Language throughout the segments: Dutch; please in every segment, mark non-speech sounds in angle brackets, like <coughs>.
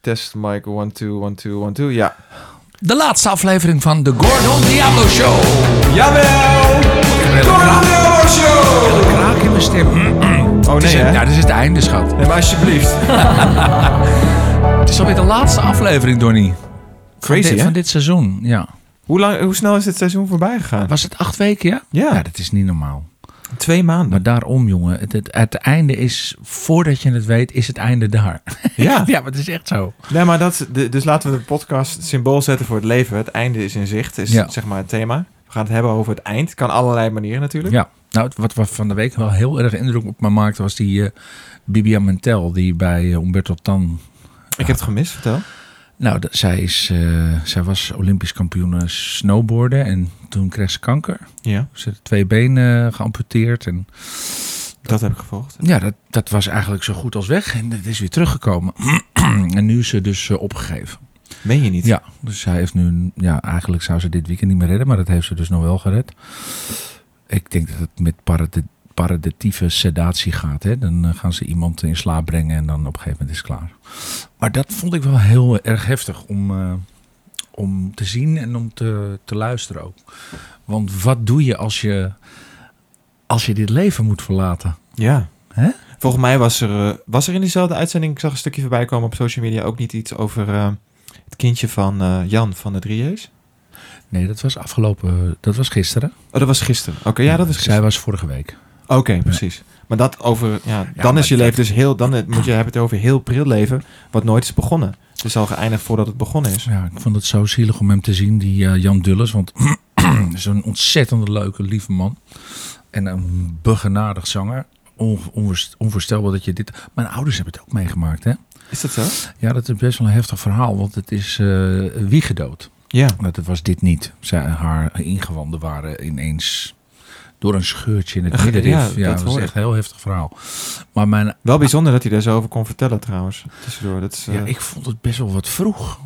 Test mic 1, 2, 1, 2, 1, 2. Ja. De laatste aflevering van de Gordon Diablo Show. Jawel! Coronel Show! Kraak in mijn stem. Hm, Oh Het is nee, hè? het- ja, dit is het einde, schat. Nee, maar alsjeblieft. Het is alweer de laatste aflevering, Donnie. Crazy, dit, hè? van dit seizoen, ja. Hoe, lang, hoe snel is dit seizoen voorbij gegaan? Was het acht weken, ja? Ja. dat is niet normaal. Twee maanden. Maar daarom, jongen. Het, het, het einde is, voordat je het weet, is het einde daar. <laughs> Ja. <laughs> ja, maar het is echt zo. Nee, maar dat, de- dus laten we de podcast symbool zetten voor het leven. Het einde is in zicht, is Ja. zeg maar het thema. We gaan het hebben over het eind. Kan allerlei manieren natuurlijk. Ja. Nou, het- wat, wat van de week wel heel erg indruk op me maakte, was die eh, Bibia Mentel, die bij eh, Umberto Tan Ik heb het gemist, vertel. Nou, dat- zij, is, eh, zij was Olympisch kampioen eh, snowboarden en toen kreeg ze kanker. Ja, Ze had twee benen eh, geamputeerd en dat heb ik gevolgd. ja, dat, dat was eigenlijk zo goed als weg en dat is weer teruggekomen. <clears throat> en nu is ze dus eh, opgegeven. Meen je niet? Ja, dus zij heeft nu, een- ja, eigenlijk zou ze dit weekend niet meer redden, maar dat heeft ze dus nog wel gered. Ik denk dat het met parade- paraditieve sedatie gaat. Hè? Dan eh, gaan ze iemand in slaap brengen en dan op een gegeven moment is het klaar. Maar dat vond ik wel heel erg heftig om, eh, om te zien en om te, te luisteren ook. Want wat doe je als je, als je dit leven moet verlaten? Ja. Hè? Volgens mij was er, eh, was er in diezelfde uitzending, ik zag een stukje voorbij komen op social media, ook niet iets over eh, het kindje van eh, Jan van de Drieërs. Nee, dat was afgelopen, dat was gisteren. Oh, dat was gisteren. Oké, ja, dat was Zij gisteren. was vorige week. Oké, precies. Maar dat over, ja, Ja, dan maar is je dat- leven dus heel, dan eh, moet je hebben het over heel pril leven, wat nooit is begonnen. Het is al geëindigd voordat het begonnen is. Ja, ik vond het zo zielig om hem te zien, die eh, Jan Dulles. Want <clears throat> zo'n ontzettend leuke, lieve man. En een begenadigd zanger. On, onvoorst- onvoorstelbaar dat je dit... Mijn ouders hebben het ook meegemaakt, hè? Is dat zo? Ja, dat is best wel een heftig verhaal. Want het is eh wiegedood. Ja. Maar Dat was dit niet. Zij, haar ingewanden waren ineens door een scheurtje in het Ach, middenrif. ja, Ja, dat dat was hoor ik. echt een heel heftig verhaal. Maar mijn Wel bijzonder dat hij daar zo over kon vertellen trouwens. Tussendoor. Dat is, eh, ja, ik vond het best wel wat vroeg.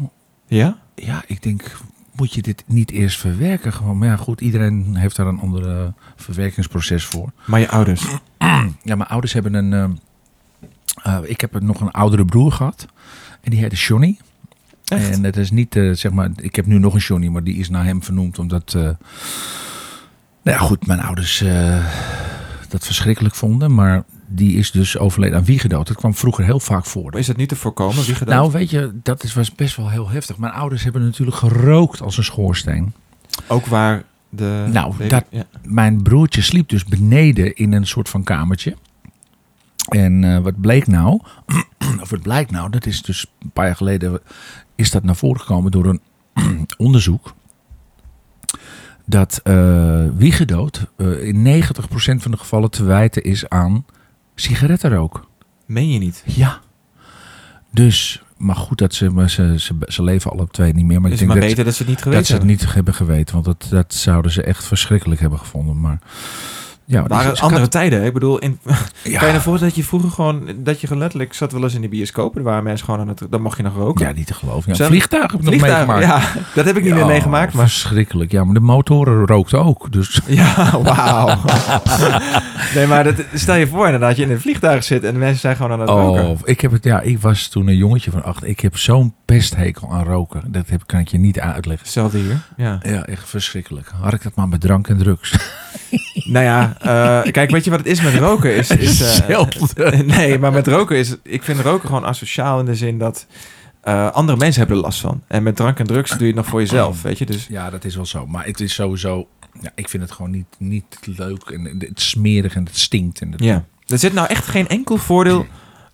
ja? Ja, ik denk, moet je dit niet eerst verwerken? Gewoon, maar ja, goed, iedereen heeft daar een ander verwerkingsproces voor. Maar je ouders. Ja, mijn ouders hebben een. ehm, eh, eh, ik heb nog een oudere broer gehad. En die heette Johnny. Echt? En het is niet, eh, zeg maar, ik heb nu nog een Johnny, maar die is naar hem vernoemd omdat. eh, nou ja, goed, mijn ouders eh, dat verschrikkelijk vonden. Maar die is dus overleden aan wiegedood. Dat kwam vroeger heel vaak voor. Maar is dat niet te voorkomen? Wie gedaan? Nou, weet je, dat is, was best wel heel heftig. Mijn ouders hebben natuurlijk gerookt als een schoorsteen. Ook waar de... Nou, de- dat- ja. Mijn broertje sliep dus beneden in een soort van kamertje. En eh, wat bleek nou? <clears throat> of wat blijkt nou? Dat is dus een paar jaar geleden is dat naar voren gekomen door een <clears throat> onderzoek. Dat eh wiegedood eh, in 90% van de gevallen te wijten is aan sigarettenrook. Meen je niet? Ja. Dus, maar goed dat ze, maar ze, ze, ze leven alle twee niet meer. Maar is Dus ik maar denk beter dat, dat ze het niet geweten dat ze het niet hebben geweten. Want dat, dat zouden ze echt verschrikkelijk hebben gevonden. Maar ja, hebben. waren dus- andere tijden. hè? Ik bedoel, in, ja, kan je ervoor dat je vroeger gewoon... Dat je letterlijk zat wel eens in de bioscoop. Er waren mensen gewoon aan het... Dan mocht je nog roken. ja, niet te geloven. Ja, Zijn- vliegtuig heb ik nog Vliegtuigen, meegemaakt. Ja, dat heb ik niet meer Ja, meegemaakt. Maar, Verschrikkelijk. Ja, maar de motoren rookten ook. Dus <laughs> ja, wauw. <laughs> nee, maar dat, stel je voor inderdaad. Je in een vliegtuig zit en de mensen zijn gewoon aan het roken. oh, ik, heb het, ja, ik was toen een jongetje van acht. Ik heb zo'n pesthekel aan roken. Dat heb, kan ik je niet uitleggen. Hetzelfde hier. Ja. Ja, echt verschrikkelijk. Had ik dat maar met drank en <laughs> drugs. Nou ja, eh, kijk, weet je wat het is met roken? <laughs> Is, is, eh, Hetzelfde. <laughs> nee, maar met roken is... Ik vind roken gewoon asociaal in de zin dat... eh, andere mensen hebben er last van. En met drank en drugs doe je het nog voor Oh. jezelf, weet je. Dus Ja, dat is wel zo. Maar het is sowieso. Ja, ik vind het gewoon niet, niet leuk. En het is smerig en het stinkt. En het- ja, er zit nou echt geen enkel voordeel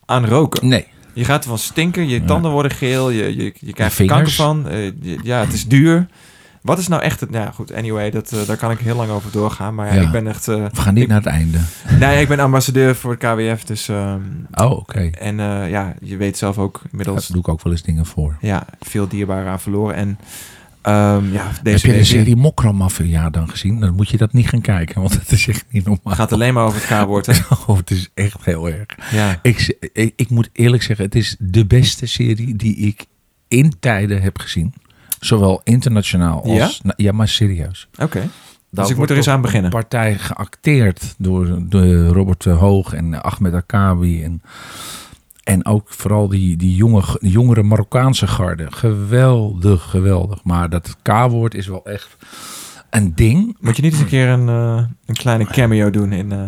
aan roken. Nee. Je gaat ervan stinken, je tanden worden geel, je, je, je krijgt er vingers. kanker van. eh, je- ja, het is duur. Wat is nou echt het... Nou ja, goed, anyway, dat, eh, daar kan ik heel lang over doorgaan. Maar ja, Ja. ik ben echt... eh, We gaan niet Ik- naar het einde. nee, ik ben ambassadeur voor het KWF, dus... ehm, Oh, oké. en eh, ja, je weet zelf ook Daar inmiddels... doe ik ook wel eens dingen voor. ja, veel dierbaren aan verloren. En ehm, ja, Heb deze je de week serie Mokromafia dan gezien? Dan moet je dat niet gaan kijken, want het is echt niet normaal. gaat alleen maar over het K-woord. hè? <laughs> Oh, het is echt heel erg. Ja. Ik, z- ik, ik moet eerlijk zeggen, het is de beste serie die ik in tijden heb gezien. Zowel internationaal als... Ja? Nou, ja maar serieus. Oké. Dus Daar ik moet Nou, wordt er eens op aan een beginnen. partij geacteerd door de Robert Hoog en Ahmed Akabi. En En ook vooral die, die jonge, die jongere Marokkaanse garde. Geweldig, geweldig. Maar dat K-woord is wel echt een ding. Moet je niet eens een keer een, eh, een Oh kleine cameo doen in... eh,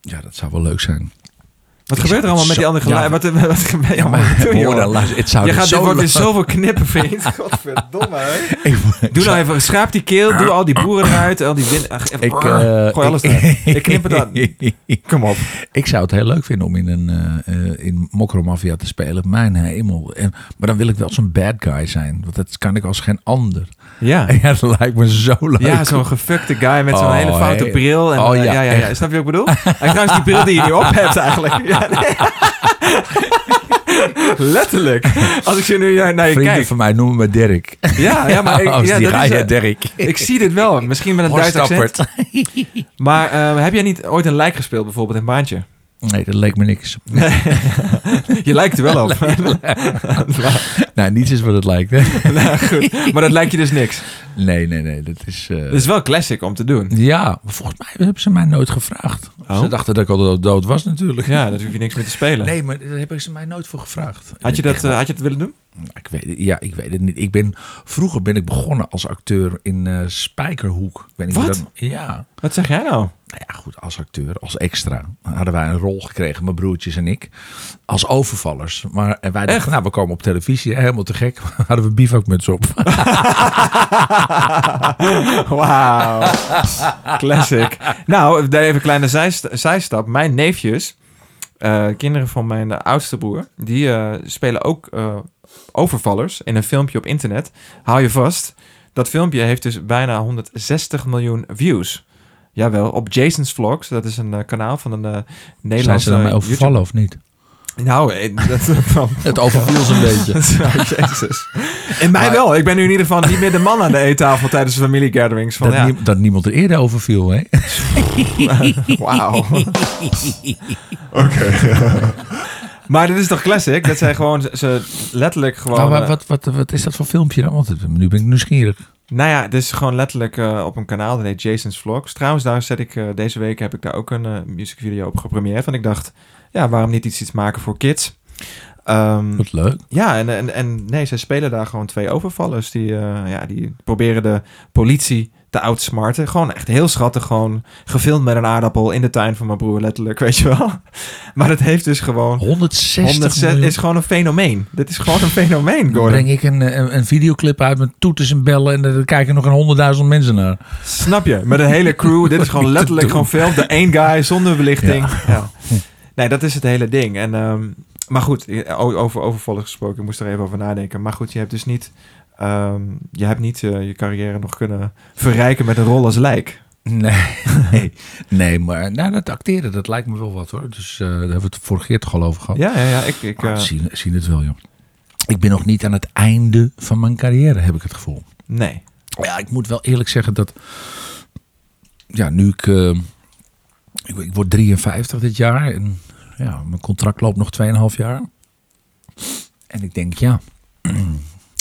Ja, dat zou wel leuk zijn. Wat Ik gebeurt er zou allemaal met die zo- andere geluiden? ja, wat, wat, wat ben Oh, je Ja, allemaal aan maar het doen, hoor, Jordan? luister, het zou Je dus gaat dit zo wordt weer leuk- zoveel knippen, <laughs> vriend. Godverdomme, hè? Ik- ik Doe zou- nou even, schraap die keel, doe al die boeren eruit, al die wind... Ach, even- Ik, eh, gooi alles ik- <laughs> eruit. Ik knip het aan. Kom op. Ik zou het heel leuk vinden om in een eh, eh, in Mokromafia te spelen. Mijn hemel. En, maar dan wil ik wel zo'n bad guy zijn. Want dat kan ik als geen ander. <laughs> Ja, Ja, dat lijkt me zo leuk. ja zo'n gefukte guy met zo'n Oh, hele foute hey. bril. En, Oh, eh, ja, ja, ja, ja, echt. Snap je wat ik <laughs> bedoel? En trouwens die bril die je nu op hebt eigenlijk. Ja, nee. <laughs> Letterlijk. Als ik zo nu eh, naar, naar je Vrienden kijk. van mij noemen me Dirk. Ja, ja, <laughs> maar ik, Als ja, die dat ga is eh, je het. Dirk. <laughs> ik zie dit wel. Misschien met een Horst Duits accent. Appert. Maar eh, heb jij niet ooit een lijk gespeeld bijvoorbeeld in Baantje? <laughs> Nee, dat leek me niks. Je lijkt er wel <laughs> op. Nou, niets is wat het lijkt. Hè? nou, goed. <laughs> Maar dat lijkt je dus niks. Nee, nee, nee. Dat is... eh, Dat is wel classic om te doen. Ja, maar volgens mij hebben ze mij nooit gevraagd. Oh. Ze dachten dat ik al dood- dood was natuurlijk. Ja, daar hoef je niks mee te spelen. Nee, maar daar hebben ze mij nooit voor gevraagd. Had je Ik ben dat, eh, had je dat willen doen? Ik weet, het- ja, ik weet het niet. Ik ben, vroeger ben ik begonnen als acteur in eh, Spijkerhoek. Ik Weet niet hoe Wat? dat- ja. Wat zeg jij nou? Nou ja, goed, als acteur, als extra. Hadden wij een rol gekregen, mijn broertjes en ik. Als overvallers. Maar en wij dachten, nou, we komen op televisie. Helemaal te gek. <laughs> Hadden we bivakmuts op. <laughs> Wauw. Classic. Nou, daar even een kleine zijst- zijstap. Mijn neefjes, eh, kinderen van mijn eh, oudste broer, die eh, spelen ook eh, overvallers in een filmpje op internet. Hou je vast. Dat filmpje heeft dus bijna 160 miljoen views. Jawel, op Jason's Vlogs. Dat is een eh, kanaal van een eh Zijn Nederlandse ze daarmee eh, overvallen of niet? YouTube- Nou, eh, dat, <laughs> Het overviel ze een beetje. Oh, Jezus. En mij Maar- wel. Ik ben nu in ieder geval niet meer de man aan de eettafel tijdens de familiegatherings. <laughs> Van, Dat, ja, nie- dat niemand er eerder overviel, hè? Wauw. <laughs> Oké. <laughs> maar dit is toch classic? Dat zijn gewoon, ze letterlijk gewoon... Nou, eh, maar wat, wat, wat is dat voor filmpje dan? Want het- nu ben ik nieuwsgierig. nou ja, dit is gewoon letterlijk eh, op een kanaal, dat heet Jason's Vlogs. Trouwens, daar zet ik, eh, deze week heb ik daar ook een eh, music video op gepremierd. Want ik dacht, ja, waarom niet iets, iets maken voor kids? Ehm, Wat leuk. ja, en, en, en nee, ze spelen daar gewoon twee overvallers. Die, eh, ja, die proberen de politie te outsmarten. Gewoon echt heel schattig. Gewoon gefilmd met een aardappel in de tuin van mijn broer, letterlijk, <laughs> weet je wel. Maar dat heeft dus gewoon... 160 106 miljoen. is gewoon een fenomeen. Dit is gewoon een fenomeen, Dan Gordon. breng ik een, eh, een, een videoclip uit met toeters en bellen en er kijken nog een honderdduizend mensen naar. Snap je? Met een hele crew. Dit is gewoon <laughs> Niet te letterlijk doen. gewoon film. De één guy zonder belichting. Ja. Nee, dat is het hele ding. En, ehm, maar goed, eh, o- over overvallen gesproken. Ik moest er even over nadenken. Maar goed, je hebt dus niet... ehm, je hebt niet eh, je carrière nog kunnen verrijken met een rol als lijk. Nee, nee, <laughs> nee maar nou, dat acteren, dat lijkt me wel wat hoor. Dus eh, daar hebben we het vorige keer toch al over gehad. Ja, ja, ja. Ik, ik, Maar eh, zien, zien het wel, joh. Ik ben nog niet aan het einde van mijn carrière, heb ik het gevoel. nee. Ja, ik moet wel eerlijk zeggen dat. Ja, nu ik. eh, ik, ik word 53 dit jaar. En ja, mijn contract loopt nog 2,5 jaar. En ik denk, ja.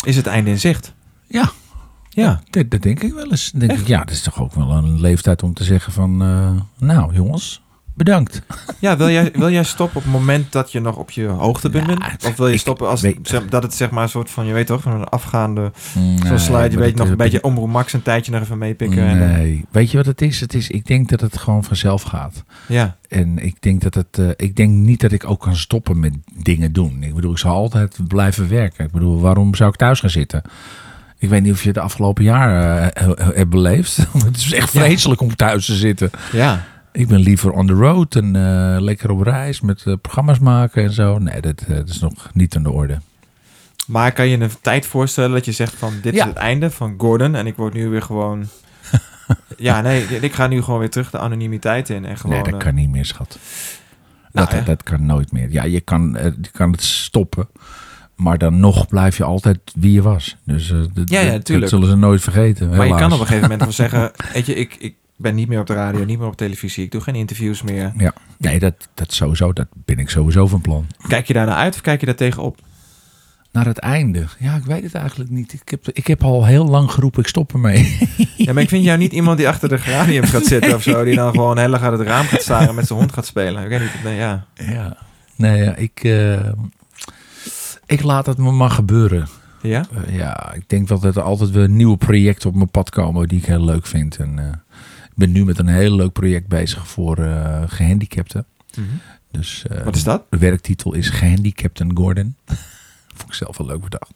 Is het einde in zicht? Ja, Ja. dat, dat denk ik wel eens. Dan denk ik, ja, dat is toch ook wel een leeftijd om te zeggen van. eh, nou, jongens, bedankt. Ja, wil jij, wil jij stoppen op het moment dat je nog op je hoogtepunt Ja, bent? Of wil je ik stoppen als weet- zeg- dat het zeg maar een soort van, je weet toch, een afgaande Zo'n Nee, slide, je maar weet dat- nog een dat- beetje omroep Max een tijdje nog even meepikken. En, eh, Nee, weet je wat het is? het is? Ik denk dat het gewoon vanzelf gaat. ja, En ik denk, dat het, eh, ik denk niet dat ik ook kan stoppen met dingen doen. Ik bedoel, ik zal altijd blijven werken. Ik bedoel, waarom zou ik thuis gaan zitten? Ik weet niet of je het afgelopen jaar eh, he- he- hebt beleefd. <laughs> het is echt Ja. vreselijk om thuis te zitten. ja. Ik ben liever on the road en eh, lekker op reis met eh, programma's maken en zo. Nee, dat, eh, dat is nog niet aan de orde. Maar kan je een tijd voorstellen dat je zegt van dit Ja. is het einde van Gordon en ik word nu weer <laughs> gewoon... ja, nee, ik ga nu gewoon weer terug de anonimiteit in en gewoon... nee, dat eh, kan niet meer, schat. Nou, dat, ja. dat kan nooit meer. Ja, je kan, eh, je kan het stoppen. Maar dan nog blijf je altijd wie je was. Dus eh, dat, Ja, ja, dat- tuurlijk. dat zullen ze nooit vergeten. eh, maar je helaas. kan op een gegeven moment wel <laughs> zeggen, weet je, ik, ik ben niet meer op de radio, niet meer op televisie, ik doe geen interviews meer. Ja, nee, dat, dat sowieso. Dat ben ik sowieso van plan. Kijk je daar naar uit of kijk je daar tegenop? Naar het einde. Ja, ik weet het eigenlijk niet. Ik heb, ik heb al heel lang geroepen, ik stop ermee. Ja, maar ik vind jou niet iemand die achter de gradium gaat zitten of zo, die dan gewoon heel erg uit het raam gaat staren en met zijn hond gaat spelen. Ik weet niet, nee, ja. ja. Nee, ja, ik, eh, ik laat het me maar gebeuren. Ja? Eh, ja, ik denk wel dat er altijd weer nieuwe projecten op mijn pad komen die ik heel leuk vind. En, eh, ik ben nu met een heel leuk project bezig voor eh, gehandicapten. Dus, eh, Wat is dat? De werktitel is Gehandicapten Gordon. <laughs> Vond ik zelf wel leuk bedacht.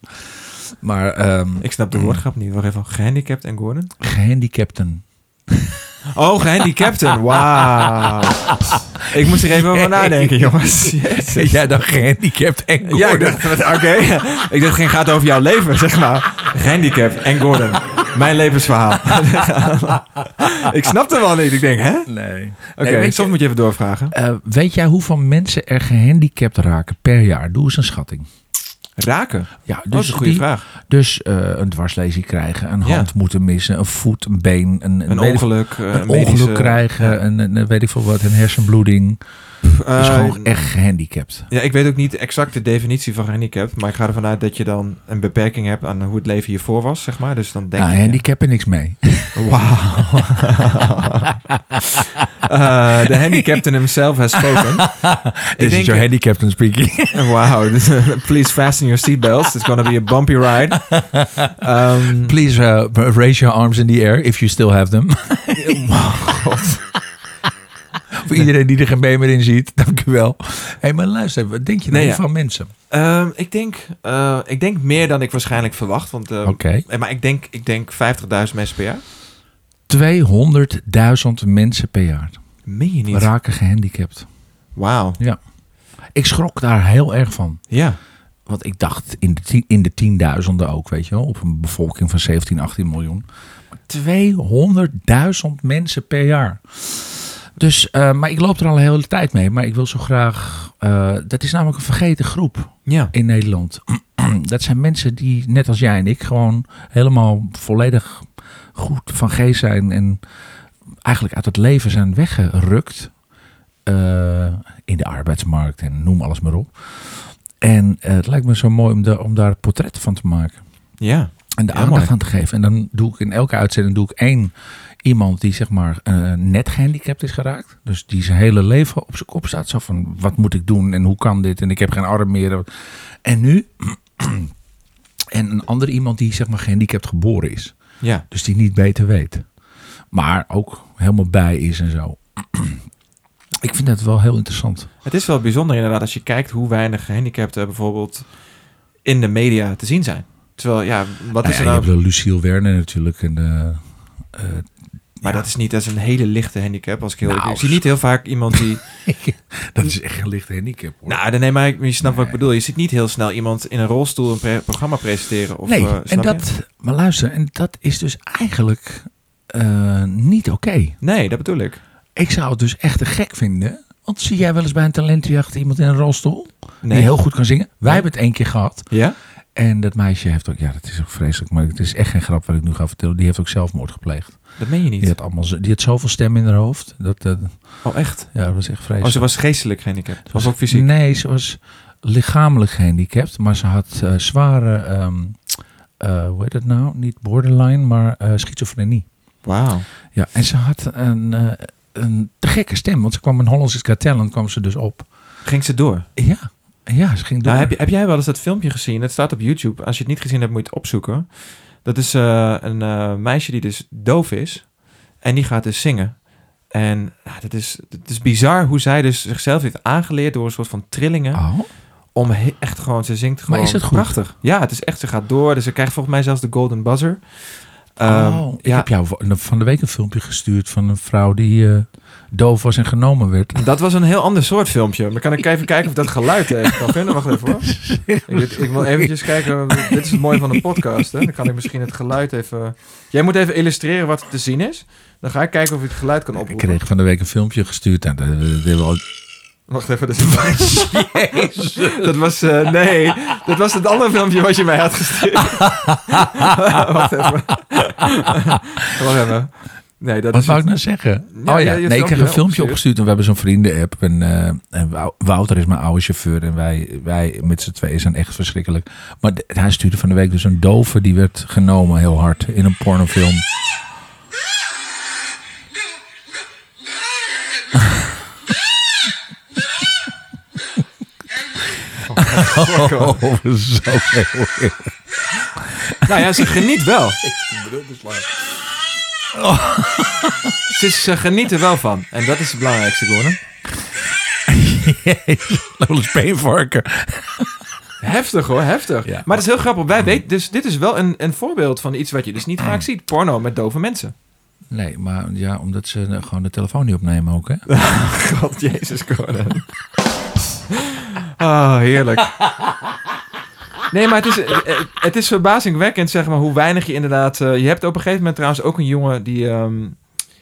Maar ehm Ik snap de woordgrap niet. Wacht even. Gehandicapt en Gordon? <laughs> gehandicapten. Oh, <laughs> gehandicapten. Wauw. Ik moest er even over nadenken, <laughs> jongens. Jezus. Jij dan gehandicapt en Gordon? Ja, ik dacht, wat- oké. Ik dacht, het gaat over jouw leven, zeg maar. Gehandicap en Gordon. Mijn levensverhaal. <laughs> ik snapte wel niet. Ik denk, hè? Oké, Nee. soms weet, je, moet je even doorvragen. eh, weet jij hoeveel mensen er gehandicapt raken per jaar? Doe eens een schatting. Raken. Ja, Oh, dat is een goede die- vraag. Dus eh, een dwarslesie krijgen, een Ja. hand moeten missen, een voet, een been, een, een, Een weet ik- ongeluk. eh, een medische- ongeluk krijgen, een, een- een weet ik veel wat, een hersenbloeding. Eh, Dat is gewoon echt gehandicapt. ja, ik weet ook niet exact de definitie van handicap. Maar ik ga ervan uit dat je dan een beperking hebt aan hoe het leven hiervoor was, zeg maar. Dus dan denk Nou, ik... handicap er niks mee. Wauw. <laughs> Eh, <laughs> De handicapten himself has spoken. Dit is denk- your handicapten speaking. Wauw. <laughs> dus, eh, Please fasten your seatbelts. It's gonna be a bumpy <laughs> ride. Ehm, <laughs> Please uh, raise your arms in the air if you still have <laughs> them. Oh, Voor iedereen die er geen been meer in ziet, dank u wel. Hé, hey, maar luister, wat denk je nou Nee, ja. van mensen? ehm, ik, denk, eh, ik denk meer dan ik waarschijnlijk verwacht. Want, eh, Oké. eh, Maar ik denk, ik denk 50.000 mensen per jaar. 200.000 mensen per jaar Meen je niet? raken gehandicapt. Wauw. Ik schrok daar heel erg van. Ja. Want ik dacht in de, tien- in de tienduizenden ook, weet je wel. Op een bevolking van 17, 18 miljoen. Maar 200.000 mensen per jaar. Dus, eh, maar ik loop er al een hele tijd mee. Maar ik wil zo graag... eh, dat is namelijk een vergeten groep Ja. in Nederland. <clears throat> dat zijn mensen die, net als jij en ik, gewoon helemaal volledig goed van geest zijn. En eigenlijk uit het leven zijn weggerukt. eh, in de arbeidsmarkt en noem alles maar op. En eh, het lijkt me zo mooi om, da- om daar een portret van te maken. Ja. En de Ja, aandacht mooi. aan te geven. En dan doe ik in elke uitzending doe ik één iemand die zeg maar eh, net gehandicapt is geraakt. Dus die zijn hele leven op zijn kop staat. Zo van wat moet ik doen en hoe kan dit en ik heb geen arm meer. En nu. <clears throat> en een ander iemand die zeg maar gehandicapt geboren is. Ja. Dus die niet beter weet. Maar ook helemaal bij is en zo. <clears throat> ik vind dat wel heel interessant. Het is wel bijzonder inderdaad als je kijkt hoe weinig gehandicapten bijvoorbeeld in de media te zien zijn. Terwijl, ja, wat Nou is ja, er je nou... hebt wel Luciel Werner natuurlijk. En, eh, eh, <laughs> Maar dat is niet, dat is een hele lichte handicap, als ik heel Nou, eerlijk- Ik zie niet heel vaak iemand <laughs> die... dat is echt een licht handicap hoor. nou, dan neem maar, je snapt wat ik bedoel. Je ziet niet heel snel iemand in een rolstoel een pre- programma presenteren. Of, nee, eh, snap en je? dat, maar luister, en dat is dus eigenlijk eh, niet oké. Nee, dat bedoel ik. Ik zou het dus echt te gek vinden. Want zie jij wel eens bij een talentenjacht iemand in een rolstoel Nee. die heel goed kan zingen? Wij hebben het één keer gehad. Ja? En dat meisje heeft ook, ja, dat is ook vreselijk, maar het is echt geen grap wat ik nu ga vertellen. Die heeft ook zelfmoord gepleegd. Dat meen je niet. Die had, allemaal, zo- die had zoveel stem in haar hoofd. Dat, eh, Oh, echt? ja, dat was echt vreselijk. Oh, ze was geestelijk gehandicapt. Ze was ook fysiek. Nee, ze was lichamelijk gehandicapt, maar ze had eh, zware, ehm, eh, hoe heet het nou? Niet borderline, maar eh, schizofrenie. Wauw. Ja, en ze had een, eh, een te gekke stem, want ze kwam in Holland's Got Talent kwam ze dus op. Ging ze door? Ja, ja ze ging door. Nou, heb, je- heb jij wel eens dat filmpje gezien? Het staat op YouTube. Als je het niet gezien hebt, moet je het opzoeken. Dat is eh, een eh, meisje die dus doof is. En die gaat dus zingen. En ja, dat is, het is bizar hoe zij dus zichzelf heeft aangeleerd door een soort van trillingen. Oh, Om he- echt gewoon, ze zingt gewoon maar is het goed? prachtig. Ja, het is echt, ze gaat door. Dus ze krijgt volgens mij zelfs de golden buzzer. Ehm, Oh, ik ja, heb jou van- van de week een filmpje gestuurd van een vrouw die eh, doof was en genomen werd. Dat was een heel ander soort filmpje. Maar kan ik even kijken of dat geluid even kan vinden? Wacht even <laughs> hoor. Ik, ik wil eventjes kijken. Dit is het mooie van een podcast. Hè? Dan kan ik misschien het geluid even... Jij moet even illustreren wat er te zien is. Dan ga ik kijken of ik het geluid kan Ik oproepen. kreeg van de week een filmpje gestuurd. Nou, dat, dat, dat, hebben we al- Wacht even. Dat, is... <laughs> dat was... eh, nee, dat was het andere filmpje wat je mij had gestuurd. <laughs> Wacht even. Wacht even. Nee, dat Wat is wou het. ik nou zeggen? Ja, oh ja, ja, je nee, ik kreeg een filmpje filmpje opgestuurd. opgestuurd en we hebben zo'n vrienden-app. En, eh, en Wou- Wouter is mijn oude chauffeur en wij, wij met z'n tweeën zijn echt verschrikkelijk. Maar d- hij stuurde van de week dus een dove die werd genomen heel hard in een <laughs> pornofilm. Oh, zo <laughs> heel Nou ja, ze geniet <laughs> wel. Oh. erg. <laughs> Ze, ze genieten wel van. En dat is het belangrijkste, Gordon. Jezus, Lowell is peenvarken. Heftig hoor, heftig. Ja. maar het is heel grappig. Wij weten, dus dit is wel een, een voorbeeld van iets wat je dus niet vaak ziet. Porno met dove mensen. Nee, maar ja, omdat ze eh, gewoon de telefoon niet opnemen <laughs> ook, hè? God, Jezus, Gordon. Oh, heerlijk. Nee, maar het is, eh, eh, het is verbazingwekkend, zeg maar, hoe weinig je inderdaad... eh, je hebt op een gegeven moment trouwens ook een jongen die... ehm,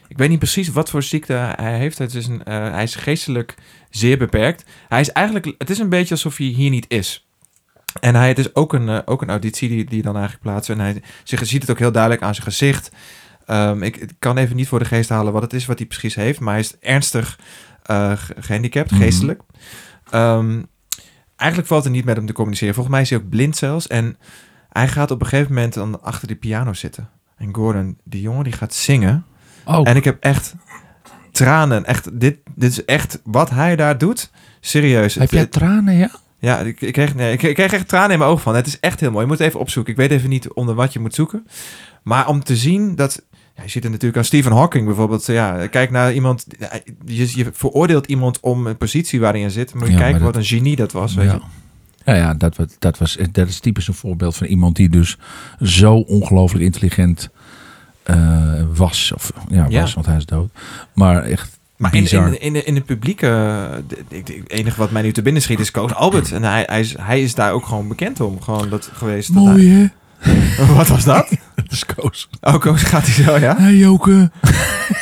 ik weet niet precies wat voor ziekte hij heeft. Het is een, eh, hij is geestelijk zeer beperkt. Hij is eigenlijk... Het is een beetje alsof hij hier niet is. En hij, het is ook een, eh, ook een auditie die, die dan eigenlijk plaatst. En hij zich, ziet het ook heel duidelijk aan zijn gezicht. Ehm, ik, ik kan even niet voor de geest halen wat het is wat hij precies heeft. Maar hij is ernstig eh, ge- gehandicapt, Mhm. geestelijk. Ehm, eigenlijk valt het niet met hem te communiceren. Volgens mij is hij ook blind zelfs. En hij gaat op een gegeven moment dan achter de piano zitten. En Gordon, die jongen, die gaat zingen. Oh, En ik heb echt tranen. Echt, dit, dit is echt wat hij daar doet. Serieus. heb Het- jij tranen, ja? ja, ik, ik, kreeg, nee, ik, ik kreeg echt tranen in mijn ogen van. Het is echt heel mooi. Je moet het even opzoeken. Ik weet even niet onder wat je moet zoeken. Maar om te zien dat... Ja, je ziet het natuurlijk aan Stephen Hawking bijvoorbeeld. Ja, kijk naar iemand... Je, je veroordeelt iemand om een positie waarin je zit. Moet je Ja, kijken maar wat een genie dat was. Weet ja. je. Nou ja, dat, wa- dat, was, eh, dat is typisch een voorbeeld van iemand die dus zo ongelooflijk intelligent eh, was. Of, ja, Ja. was, want hij is dood. Maar echt Maar in, bizar. in, in, in het publiek... eh, de- de- de- het enige wat mij nu te binnen schiet is Koos Albert. En hij, hij, is, hij is daar ook gewoon bekend om. Gewoon dat geweest. dat hij- hè? <laughs> wat was dat? <laughs> Dat is Koos. Oh, Koos <laughs> gaat hij zo, ja. Hey, Joke.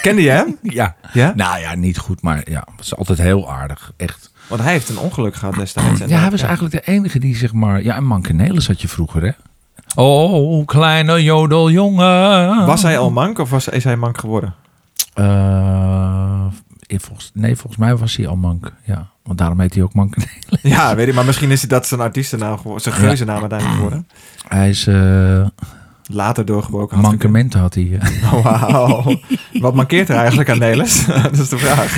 Kende je hem? Ja. Ja? Nou ja, niet goed, maar ja, was altijd heel aardig. Echt. Want hij heeft een ongeluk gehad destijds. En Oh, Ja, hij daar- was eigenlijk de enige die zeg maar... Ja, en Mankenelis had je vroeger, hè? Oh, kleine jodeljongen. Was hij al mank of was, is hij mank <laughs> geworden? Eh, in volgens, nee, volgens mij was hij al mank. Ja, want daarom heet hij ook mank. Ja, weet ik, maar misschien is hij dat zijn artiestennaam geworden, zijn geuzennaam uiteindelijk geworden. Hij is eh Later doorgebroken. had ik- mankementen had hij. eh. Wauw. Wat mankeert er eigenlijk aan Nelis? <laughs> dat is de vraag.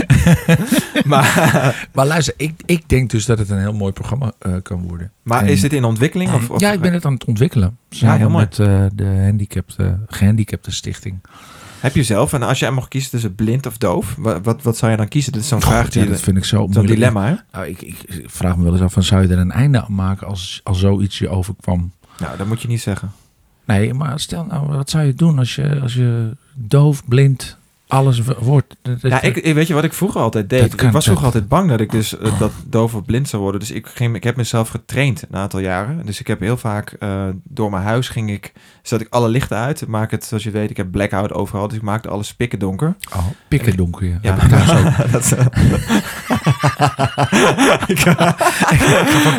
<laughs> maar, <laughs> maar luister, ik, ik denk dus dat het een heel mooi programma eh, kan worden. maar En- is dit in ontwikkeling? Of, of- ja, ik ben het aan het ontwikkelen. Samen heel mooi. met eh, de handicapte, gehandicapte stichting. Heb je zelf, en als jij mag kiezen tussen blind of doof, wa- wat, wat zou je dan kiezen? Dit is zo'n vraag, ja, die, dat vind ik zo zo'n moeilijk. dilemma. Hè? Nou, ik, ik, ik vraag me wel eens af, van, zou je er een einde aan maken als, als zoiets je overkwam? Nou, dat moet je niet zeggen. Nee, maar stel nou, wat zou je doen als je, als je doof, blind, alles w- wordt? Dat- eh, dat- Ja, ik, ik- weet je wat ik vroeger altijd deed? Dat kan ik was toch? Oh. vroeger altijd bang dat ik dus eh, dat doof of blind zou worden. Dus ik, ging, ik heb mezelf getraind een aantal jaren. Dus ik heb heel vaak eh, door mijn huis ging ik, zet ik alle lichten uit. Ik Maak het, zoals je weet, ik heb blackout overal. Dus ik maakte alles pikken donker. Oh, pikken donker, ja. Ja, Heb ik thuis <laughs> ook. dat, is- Ik-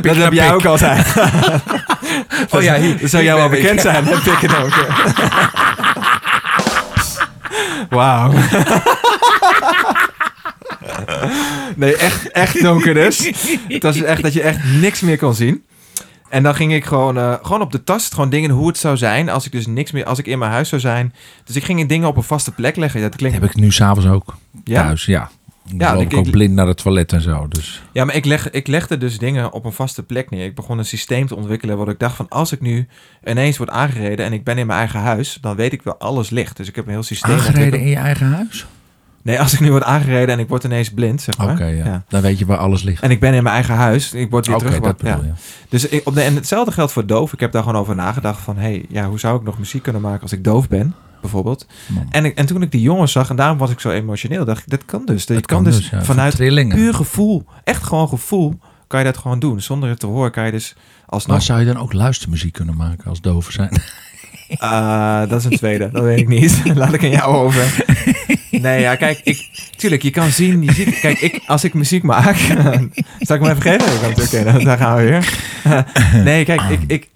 dat heb jij pik. ook <laughs> altijd. Oh ja, hier. dat zou Ik jou wel ben- ik- bekend zijn, hè, pikken donker. <laughs> Wauw. Nee, echt, echt donker dus. Het was echt dat je echt niks meer kon zien. En dan ging ik gewoon, eh, gewoon op de tast, gewoon dingen hoe het zou zijn als ik dus niks meer, als ik in mijn huis zou zijn. Dus ik ging dingen op een vaste plek leggen. Dat klinkt, Heb ik nu s'avonds ook. ja? Thuis, ja. Dan Ja, loop ik- ik ook ik- blind naar het toilet en zo. Dus. Ja, maar ik, leg, ik legde dus dingen op een vaste plek neer. Ik begon een systeem te ontwikkelen wat ik dacht van als ik nu ineens word aangereden en ik ben in mijn eigen huis, dan weet ik wel alles ligt. Dus ik heb een heel systeem Aangereden ontwikkeld. in je eigen huis? Nee, als ik nu word aangereden en ik word ineens blind, zeg maar. Oké, ja. Dan weet je waar alles ligt. En ik ben in mijn eigen huis, ik word weer Oké, dat teruggebracht. bedoel Ja. je. Dus ik, op de, en hetzelfde geldt voor doof. Ik heb daar gewoon over nagedacht van, hé, hey, ja, hoe zou ik nog muziek kunnen maken als ik doof ben, bijvoorbeeld. Man, En, ik, en toen ik die jongen zag, en daarom was ik zo emotioneel, dacht ik, dat kan dus. Dat, dat je kan, dus ja, van vanuit trillingen. puur gevoel, echt gewoon gevoel, kan je dat gewoon doen. Zonder het te horen kan je dus Maar alsnog... zou je dan ook luistermuziek kunnen maken als doven zijn? Eh, dat is een tweede, dat weet ik niet. <laughs> Laat ik aan jou over. <laughs> Nee, ja, kijk, ik, tuurlijk, je kan zien, je ziet, kijk, ik, als ik muziek maak, <laughs> zal ik me even geven? Ik kan het- Oké, dan- daar gaan we weer. <laughs> nee, kijk, ik, ik,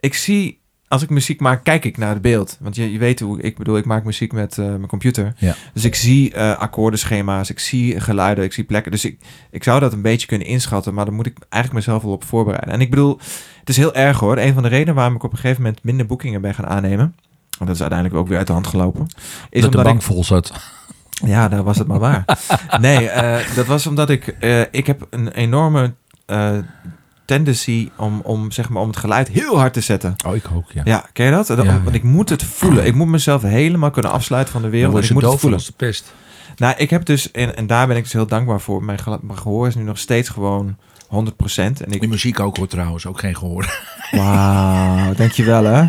ik zie, als ik muziek maak, kijk ik naar het beeld. Want je, je weet hoe, ik bedoel, ik maak muziek met eh, mijn computer. Ja. Dus ik zie eh, akkoordenschema's, ik zie geluiden, ik zie plekken. Dus ik, ik zou dat een beetje kunnen inschatten, maar daar moet ik eigenlijk mezelf wel op voorbereiden. En ik bedoel, het is heel erg hoor. Een van de redenen waarom ik op een gegeven moment minder boekingen ben gaan aannemen. Want dat is uiteindelijk ook weer uit de hand gelopen. Is <laughs> dat de omdat bank ik. vol zat. Ja, daar was het maar <laughs> waar. nee, eh, dat was omdat ik. eh, ik heb een enorme eh, tendency om, om, zeg maar, om het geluid heel hard te zetten. Oh, ik ook, ja. Ja, ken je dat? Dat- Ja, ja. Want ik moet het voelen. Ik moet mezelf helemaal kunnen afsluiten van de wereld. en was ik moet het voelen. de pest. Nou, ik heb dus, en, en daar ben ik dus heel dankbaar voor. Mijn, gel- mijn gehoor is nu nog steeds gewoon 100%. En Die ik, muziek ook hoor trouwens, ook geen gehoor. wauw, dankjewel hè.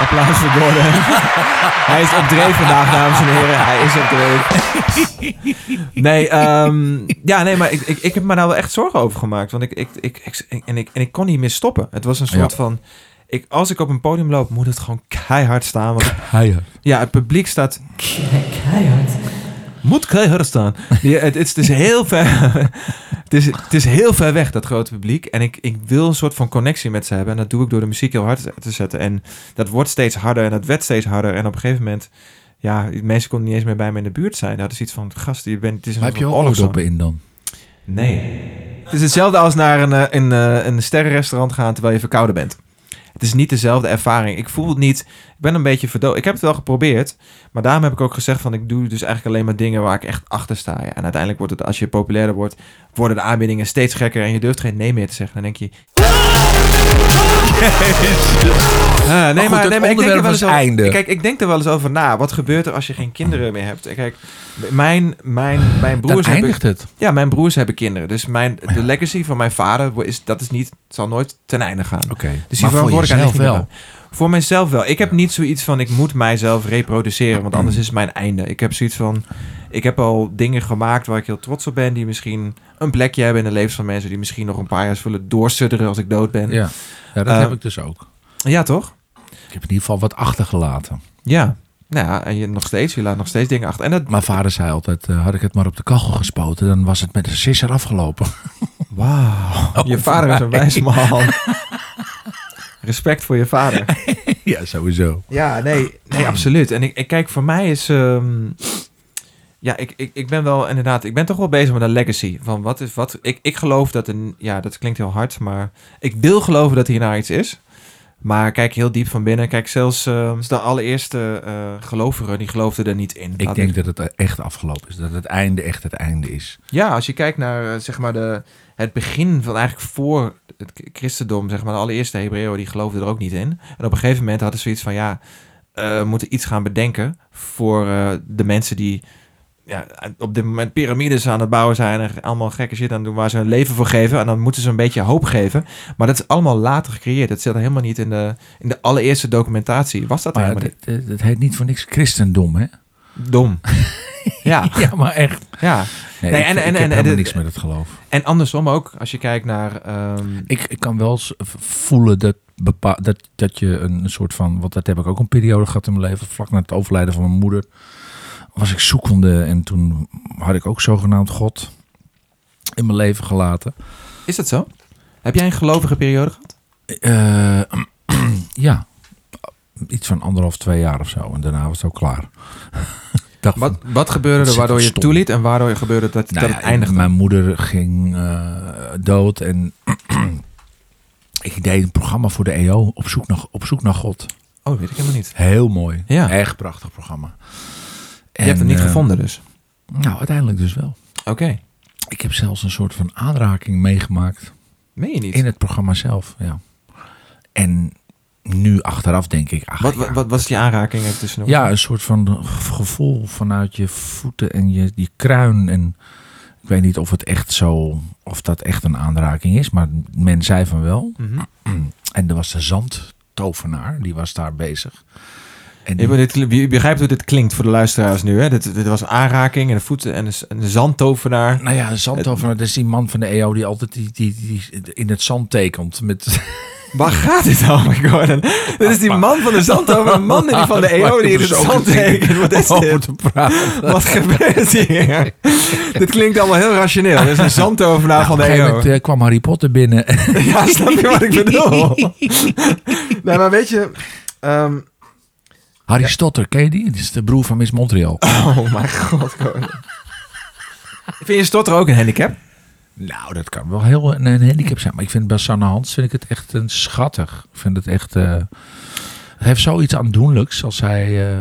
Applaus voor Gordon. Hij is op dreef vandaag, dames en heren. Hij is op dreef. Nee, ehm, ja, nee, maar ik, ik, ik heb me daar wel echt zorgen over gemaakt. Want ik, ik, ik, ik- en, ik, en ik kon niet meer stoppen. Het was een soort Ja. van... Ik, als ik op een podium loop, moet het gewoon keihard staan. Want Heijer. Ja, het publiek staat keihard. Moet keihard staan. Ja, het, het, is, het is heel ver. <laughs> Het is, het is heel ver weg, dat grote publiek. En ik, ik wil een soort van connectie met ze hebben. En dat doe ik door de muziek heel hard te zetten. En dat wordt steeds harder en dat werd steeds harder. En op een gegeven moment, ja, mensen konden niet eens meer bij me in de buurt zijn. Dat is iets van, gast, je bent, het is een Maar heb je soort ook van oorlogszoon. oordoppen in dan? Nee. Het is hetzelfde als naar een, eh, een, eh, een sterrenrestaurant gaan terwijl je verkouden bent. Het is niet dezelfde ervaring. Ik voel het niet. Ik ben een beetje verdoofd. Ik heb het wel geprobeerd. Maar daarom heb ik ook gezegd van ik doe dus eigenlijk alleen maar dingen waar ik echt achter sta. Ja. En uiteindelijk wordt het, als je populairder wordt, worden de aanbiedingen steeds gekker. En je durft geen nee meer te zeggen. Dan denk <laughs> je... Ah, nee, maar, goed, het nee, maar ik denk er onderwerp wel eens was over- einde. Kijk, ik denk er wel eens over na. Wat gebeurt er als je geen kinderen meer hebt? Kijk, mijn, mijn, mijn Dan broers hebben- eindigt het. ja, mijn broers hebben kinderen. Dus mijn, de legacy van mijn vader wo- is, dat is niet, zal nooit ten einde gaan. Oké. Dus die Maar voor verantwoordelijkheid jezelf ligt niet wel. bij mij. Voor mijzelf wel. Ik heb niet zoiets van, ik moet mijzelf reproduceren, want Mm. anders is het mijn einde. Ik heb zoiets van, ik heb al dingen gemaakt waar ik heel trots op ben, die misschien een plekje hebben in de levens van mensen, die misschien nog een paar jaar zullen doorsudderen als ik dood ben. Ja, Ja, ja dat Eh, heb ik dus ook. toch? Ik heb in ieder geval wat achtergelaten. Ja. Nou ja, en je, nog steeds, je laat nog steeds dingen achter. En dat, Mijn vader zei altijd, eh, had ik het maar op de kachel gespoten, dan was het met een sisser afgelopen. <laughs> wauw, je vader is een wijs Oh, man. Respect voor je <laughs> vader. ja, sowieso. Ja, nee, nee Ah. absoluut. En ik, ik kijk, voor mij is. ehm, ja, ik, ik, ik ben wel inderdaad. Ik ben toch wel bezig met een legacy. Van wat is wat. Ik, ik geloof dat een. Ja, dat klinkt heel hard, maar. Ik wil geloven dat hierna iets is. Maar kijk heel diep van binnen. Kijk, zelfs ehm, de allereerste eh gelovigen, die geloofden er niet in. Ik Laat denk dat het echt afgelopen is. Dat het einde echt het einde is. Ja, als je kijkt naar eh, zeg maar de, het begin van eigenlijk voor het k- christendom, zeg maar de allereerste Hebreeën, die geloofden er ook niet in. En op een gegeven moment hadden ze zoiets van, ja, eh, we moeten iets gaan bedenken voor eh, de mensen die ja, op dit moment piramides aan het bouwen zijn en allemaal gekke shit aan het doen waar ze hun leven voor geven. En dan moeten ze een beetje hoop geven. Maar dat is allemaal later gecreëerd. Dat zit er helemaal niet in de, in de allereerste documentatie. Was dat Maar helemaal het, het, het heet niet voor niks christendom, hè? niet? Dom. ja, <laughs> Ja, maar echt. ja. Nee, Nee, ik, en- ik en- heb en- helemaal en- niks met het geloof. En andersom ook, als je kijkt naar... ehm, Ik, ik kan wel eens voelen dat, bepa- dat, dat je een soort van... Want dat heb ik ook een periode gehad in mijn leven. Vlak na het overlijden van mijn moeder was ik zoekende. En toen had ik ook zogenaamd God in mijn leven gelaten. Is dat zo? Heb jij een gelovige periode gehad? Eh, <clears throat> ja, iets van anderhalf, twee jaar of zo. En daarna was het ook klaar. <laughs> Dag van- Wat, wat gebeurde Zit er het waardoor je stom. toeliet en waardoor je gebeurde dat, Nou dat het ja, eindigde? Mijn moeder ging eh, dood en <clears throat> ik deed een programma voor de EO op zoek naar, op zoek naar God. Oh, weet ik helemaal niet. Heel mooi. Ja. Echt prachtig programma. Je hebt hem niet eh, gevonden dus? Nou, uiteindelijk dus wel. Oké. Ik heb zelfs een soort van aanraking meegemaakt Meen je niet? in het programma zelf. Ja. En nu achteraf denk ik... ach, wat, ja. wat, wat was die aanraking er tussendoor? Ja, een soort van ge- gevoel vanuit je voeten en je, je kruin. En ik weet niet of het echt zo, of dat echt een aanraking is, maar men zei van wel. Mhm. <clears throat> En er was de zandtovenaar, die was daar bezig. En Je, die- bent- dit- je begrijpt hoe dit klinkt voor de luisteraars nu. Hè? Dit, dit was aanraking en een voeten en een, s- een zandtovenaar. nou ja, de zandtovenaar, dat is die man van de EO die altijd die, die, die in het zand tekent. Met, Waar gaat dit over, Gordon? Dit is die man van de zandtovenaar, een man die <laughs> van de EO die in het zand tekent. Wat is Over dit? te praten. Wat gebeurt <laughs> hier? dit klinkt allemaal heel rationeel. Dit is een zandtovenaar Op van een de gegeven EO. moment eh, kwam Harry Potter binnen. <laughs> Ja, <laughs> snap je wat ik bedoel? <laughs> nee, maar weet je... ehm, Harry Stotter, ken je die? Dat is de broer van Miss Montreal. oh mijn god. Gordon. Vind je stotter ook een handicap? Nou, dat kan wel heel een, een handicap zijn. Maar ik vind bij Sanne Hans vind ik het echt een schattig. Ik vind het echt. eh, het heeft zoiets aandoenlijks als zij. eh,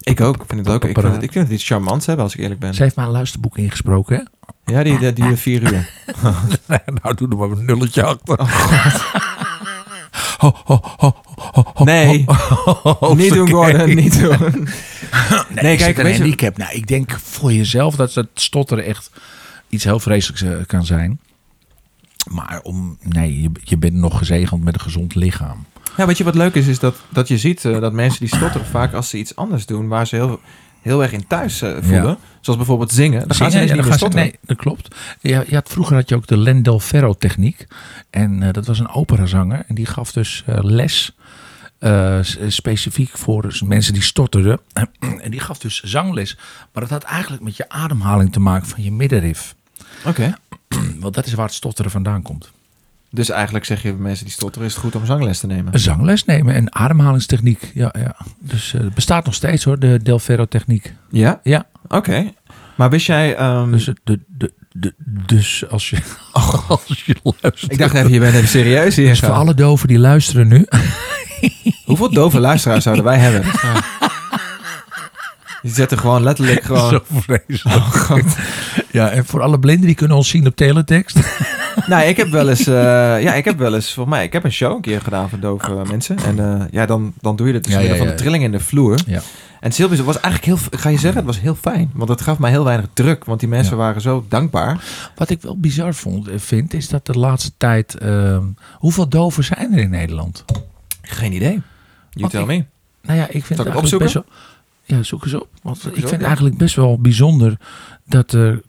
Ik ook. Ik vind het ook. Ik vind het, ik vind het iets charmants hebben, als ik eerlijk ben. ze heeft maar een luisterboek ingesproken. Hè? Ja, die, die duurde vier uur. <laughs> <laughs> nou, doe er maar een nulletje achter. Ho, ho, ho, ho, ho, Nee. ho, ho, ho, <laughs> ho, Oh. niet doen, hoofdstuk Gordon. één. Niet <laughs> doen. Nee, Nee, is kijk, het weet een je- handicap? Nou, ik denk voor jezelf dat het stotteren echt iets heel vreselijks eh, kan zijn. Maar om, nee, je, je bent nog gezegend met een gezond lichaam. Ja, weet je wat leuk is? Is dat, dat je ziet eh, dat mensen die stotteren vaak als ze iets anders doen waar ze heel, heel erg in thuis eh, voelen. Ja. Zoals bijvoorbeeld zingen. Dan gaan ze Zingen, ineens ja, niet dan meer gaan ze- stotteren. Nee, dat klopt. Ja, je had, vroeger had je ook de Len Del Ferro techniek. En eh, dat was een operazanger. En die gaf dus eh, les. eh, s- specifiek voor dus mensen die storterden. <clears throat> En die gaf dus zangles. Maar dat had eigenlijk met je ademhaling te maken van je middenrif. Oké. Want dat is waar het stotteren vandaan komt. Dus eigenlijk zeg je mensen die stotteren is het goed om zangles te nemen. Een zangles nemen en ademhalingstechniek. Ja, ja. Dus eh, het bestaat nog steeds hoor, de Del Ferro techniek. Ja? Ja. Oké. Maar wist jij... ehm, Dus, het- de, de, de, dus als je, <laughs> als je luistert. ik dacht even, je bent even serieus hier. Dus zo. voor alle doven die luisteren nu. <laughs> Hoeveel dove luisteraars zouden wij hebben? <laughs> Dat is waar. Die zetten gewoon letterlijk gewoon... Oh, Zo vreselijk. ja, en voor alle blinden die kunnen ons zien op teletext. <laughs> Nou, ik heb wel eens, eh, ja, ik heb wel eens, volgens mij, ik heb een show een keer gedaan voor dove eh, mensen. En eh, ja, dan, dan doe je dat dus Ja, middel ja, van ja. de trilling in de vloer. Ja. En het is heel bijzonder. Het was eigenlijk heel, ik ga je zeggen, het was heel fijn. Want het gaf mij heel weinig druk, want die mensen Ja. waren zo dankbaar. Wat ik wel bizar vond, eh, vind, is dat de laatste tijd. ehm, hoeveel doven zijn er in Nederland? Geen idee. You Want tell ik- me. Nou ja, ik vind Zal ik het het eigenlijk best wel. Ja, zoek eens op. Want Zoek eens ik op, vind het ja. eigenlijk best wel bijzonder dat er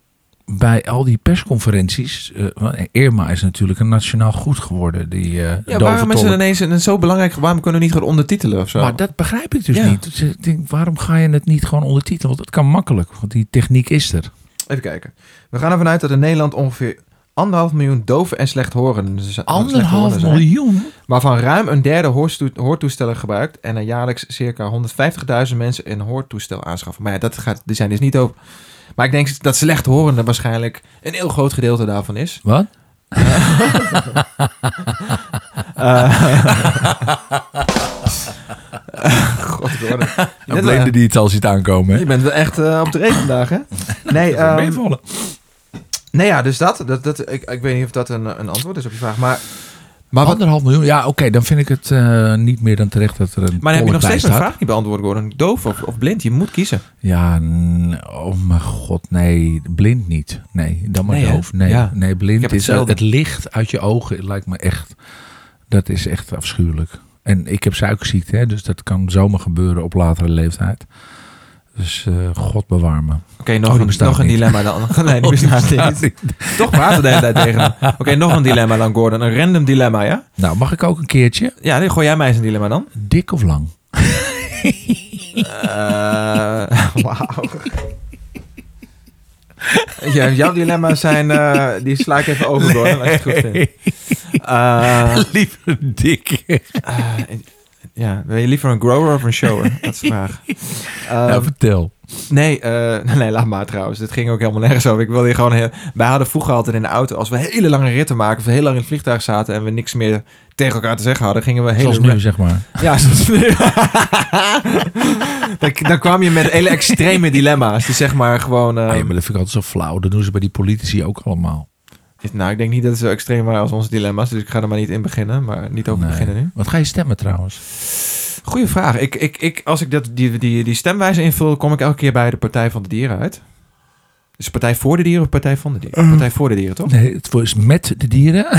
bij al die persconferenties. eh, want Irma is natuurlijk een nationaal goed geworden. Die, eh Ja, doventolk. waarom is het ineens een, een zo belangrijk, waarom kunnen we niet gewoon ondertitelen of zo? Maar dat begrijp ik dus Ja. niet. Dus ik denk, waarom ga je het niet gewoon ondertitelen? Want dat kan makkelijk, want die techniek is er. Even kijken. We gaan ervan uit dat in Nederland ongeveer anderhalf miljoen doven en slechthorenden zijn. Anderhalf slechthorenden zijn. miljoen? waarvan ruim een derde hoorstoe- hoortoestellen gebruikt en er jaarlijks circa 150.000 mensen een hoortoestel aanschaffen. Maar ja, dat gaat, die zijn dus niet open. Maar ik denk dat slechthorende waarschijnlijk een heel groot gedeelte daarvan <laughs> is. Wat? <laughs> God, ik hoorde- Een blinde die het al ziet aankomen. eh, je bent wel echt eh, op de reet vandaag, <laughs> hè? Nee, hè? ehm, Meevallen. nee ja, dus dat. dat, dat ik, ik weet niet of dat een, een antwoord is op je vraag. Maar, maar, wat, Anderhalf miljoen? Ja, oké, dan vind ik het eh, niet meer dan terecht dat er een maar dan heb je nog tolk bij steeds een staat. vraag niet beantwoord, Gordon. Doof of, of blind, je moet kiezen. Ja, n- oh mijn god, nee, blind niet. Nee, dan maar Nee, hè? doof. Nee, Ja. nee Ik blind heb is eh, hetzelfde. het licht uit je ogen het lijkt me echt, dat is echt afschuwelijk. En ik heb suikerziekte, hè, dus dat kan zomaar gebeuren op latere leeftijd. Dus eh, god bewaar me. Oké, nog, Oh, die een, bestaat nog een niet. Oh, dilemma <laughs> dan. Nee, die bestaat <laughs> niet. Toch praten de hele tijd tegen hem. Oké, nog een dilemma dan, Gordon. Een random dilemma, ja? Nou, mag ik ook een keertje? Ja, nee, gooi jij mij eens een dilemma dan. Dik of lang? Eh, <laughs> Wauw. Ja, jouw dilemma's zijn... eh, die sla ik even over, Gordon, als je het goed <laughs> vindt. Eh, Liever dik. eh, ja, ben je liever een grower of een shower? Dat is de vraag. nou, Ehm, vertel. Nee, eh, <laughs> nee, laat maar trouwens. Dit ging ook helemaal nergens over. Ik wilde hier gewoon... Heel... Wij hadden vroeger altijd in de auto... als we hele lange ritten maakten... of we heel lang in het vliegtuig zaten... en we niks meer tegen elkaar te zeggen hadden... gingen we Ehm, hele... Zoals nu, zeg maar. Ja, zoals nu. <laughs> dan, dan kwam je met hele extreme dilemma's. Die zeg maar gewoon... eh, Ah, ja, maar dat vind ik altijd zo flauw. Dat doen ze bij die politici ook allemaal. is- Nou, ik denk niet dat het zo extreem waren als onze dilemma's. Dus ik ga er maar niet in beginnen. Maar niet over Nee. beginnen nu. Wat ga je stemmen trouwens? Goeie vraag. Ik, ik, ik, als ik dat, die, die, die stemwijze invul... kom ik elke keer bij de Partij van de Dieren uit. Dus Partij voor de Dieren of Partij van de Dieren? Ehm. Partij voor de Dieren, toch? Nee, het is met de dieren. <laughs>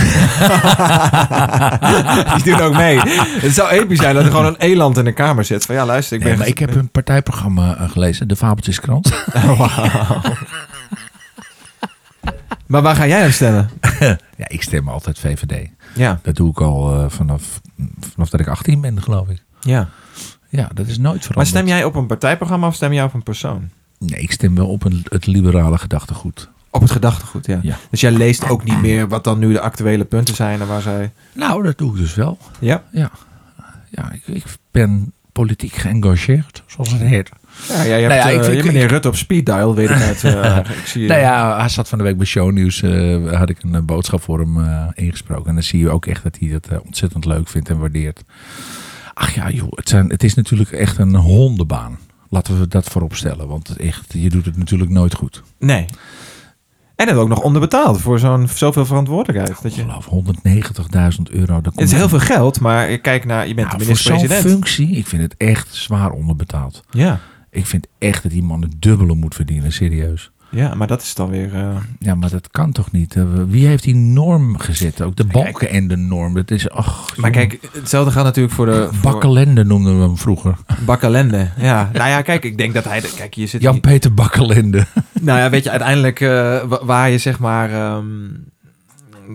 Die doen ook mee. Het zou episch zijn dat er gewoon een eland in de kamer zit. Van ja, luister, ik ben... <laughs> Nee, maar ik heb een partijprogramma eh, gelezen, de <laughs> Fabeltjeskrant. Oh, Wauw. Maar waar ga jij op stemmen? ja, ik stem altijd VVD. Ja, Dat doe ik al eh, vanaf, vanaf dat ik 18 ben, geloof ik. ja. Ja, dat is nooit veranderd. Maar stem jij op een partijprogramma of stem jij op een persoon? Nee, ik stem wel op een, het liberale gedachtegoed. Op het gedachtegoed, ja. Ja. Dus jij leest ook niet meer wat dan nu de actuele punten zijn en waar zij... Nou, dat doe ik dus wel. Ja, Ja, ja ik, ik ben politiek geëngageerd, zoals het heet. ja, jij hebt Nou ja, eh, ik vind- je hebt meneer Rutte op speed dial, weet ik uit. <laughs> eh, ik zie, Nou ja, hij zat van de week bij Shownieuws. eh had ik een eh, boodschap voor hem eh, ingesproken. En dan zie je ook echt dat hij dat eh, ontzettend leuk vindt en waardeert. Ach ja, joh, het, zijn, het is natuurlijk echt een hondenbaan. Laten we dat voorop stellen. Want echt, je doet het natuurlijk nooit goed. Nee. En het ook nog onderbetaald voor zo'n, zoveel verantwoordelijkheid. Dat je, Geloof 190.000 euro. dat het is komt- heel veel geld, maar kijk naar, je bent Nou, de voor zo'n minister-president. functie, ik vind het echt zwaar onderbetaald. Ja, Ik vind echt dat die man het dubbele moet verdienen, serieus. ja, maar dat is dan weer... eh, Ja, maar dat kan toch niet? Eh, Wie heeft die norm gezet? Ook de balken en de norm. Dat is, ach, maar jongen. kijk, hetzelfde gaat natuurlijk voor de... Voor Bakkelende noemden we hem <laughs> vroeger. Bakkelende, ja. Nou ja, kijk, ik denk dat hij... Kijk, hier zit... Jan-Peter Bakkelende. Nou ja, weet je, uiteindelijk eh, wa- waar je zeg maar... ehm,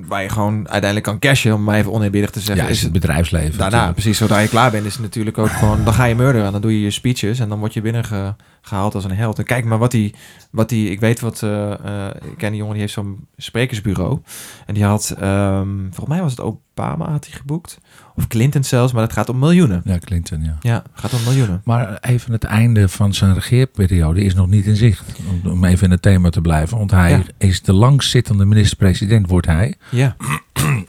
waar je gewoon uiteindelijk kan cashen, om mij even oneerbiedig te zeggen. Ja, is het bedrijfsleven. Daarna, natuurlijk. precies. Zodra je klaar bent, is het natuurlijk ook gewoon... Dan ga je murderen en dan doe je je speeches. En dan word je binnengehaald als een held. En kijk maar wat die... Wat die ik weet wat... eh, eh, ik ken die jongen, die heeft zo'n sprekersbureau. En die had... ehm, volgens mij was het Obama had hij geboekt. Of Clinton zelfs, maar het gaat om miljoenen. Ja, Clinton, ja. Ja, het gaat om miljoenen. Maar even het einde van zijn regeerperiode is nog niet in zicht. Om- Om even in het thema te blijven. Want hij Ja. is de langstzittende minister-president, wordt hij. Ja,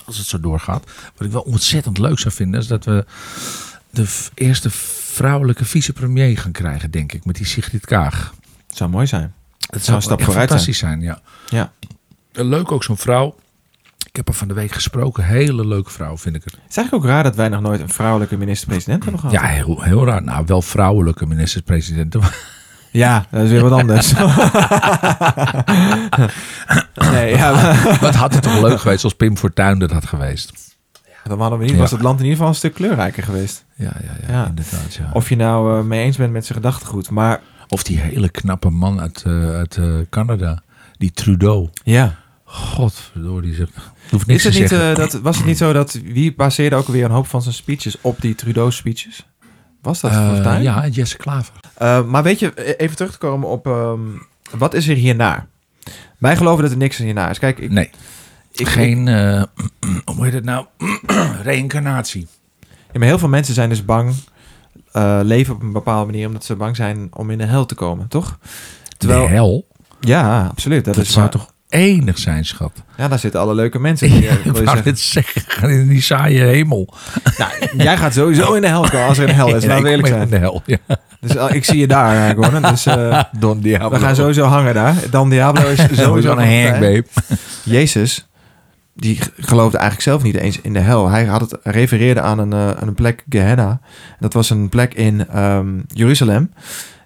Als het zo doorgaat. Wat ik wel ontzettend leuk zou vinden, is dat we de v- eerste vrouwelijke vicepremier gaan krijgen, denk ik. Met die Sigrid Kaag. het zou mooi zijn. Het zou een stap echt vooruit fantastisch zijn. ja. Ja. Leuk ook zo'n vrouw. Ik heb haar van de week gesproken. Hele leuke vrouw, vind ik het. Het is eigenlijk ook raar dat wij nog nooit een vrouwelijke minister-president hebben gehad. Ja, heel, heel raar. Nou, wel vrouwelijke minister-presidenten. Ja, dat is weer wat anders. <laughs> nee, ja, maar- <laughs> Wat had het toch leuk geweest als Pim Fortuyn dat had geweest? dan hadden we niet, was het land in ieder geval een stuk kleurrijker geweest. Ja, ja, ja, Ja. inderdaad. Ja. Of, Of je nou eh, mee eens bent met zijn gedachtegoed, maar die hele knappe man uit, eh, uit eh, Canada, die Trudeau. ja. Godverdorie, die zegt. het hoeft Is niks het te niet, zeggen. eh, dat, was het niet zo dat wie baseerde ook weer een hoop van zijn speeches op die Trudeau-speeches? Was dat Eh, Fortuyn? ja, Jesse Klaver. Eh, maar weet je, e- even terug te komen op ehm, wat is er hierna? Wij geloven dat er niks hierna is. Kijk, ik, Nee, ik, geen. eh, <clears throat> hoe heet het nou? <clears throat> Reïncarnatie. Ja, maar heel veel mensen zijn dus bang, eh, leven op een bepaalde manier, omdat ze bang zijn om in de hel te komen, toch? Terwijl, De hel. ja, absoluut. Dat, Dat is zou waar. toch enig zijn, schat. Ja, daar zitten alle leuke <laughs> mensen. in, Ja, wil ik je wou zeggen. dit zeggen. In die saaie hemel. Nou, jij gaat sowieso in de hel komen als er een hel <laughs> is. Ja, Laten we ik kom eerlijk zijn. in de hel. Ja. Dus eh, ik zie je daar, eh, Gordon. Dus <laughs> eh, Don Diablo. we gaan sowieso hangen daar. Dan Diablo is <laughs> sowieso <laughs> sowieso een nog hang, bij. babe. Jezus, die g- geloofde eigenlijk zelf niet eens in de hel. Hij had het refereerde aan een, eh, aan een plek Gehenna. Dat was een plek in ehm, Jeruzalem.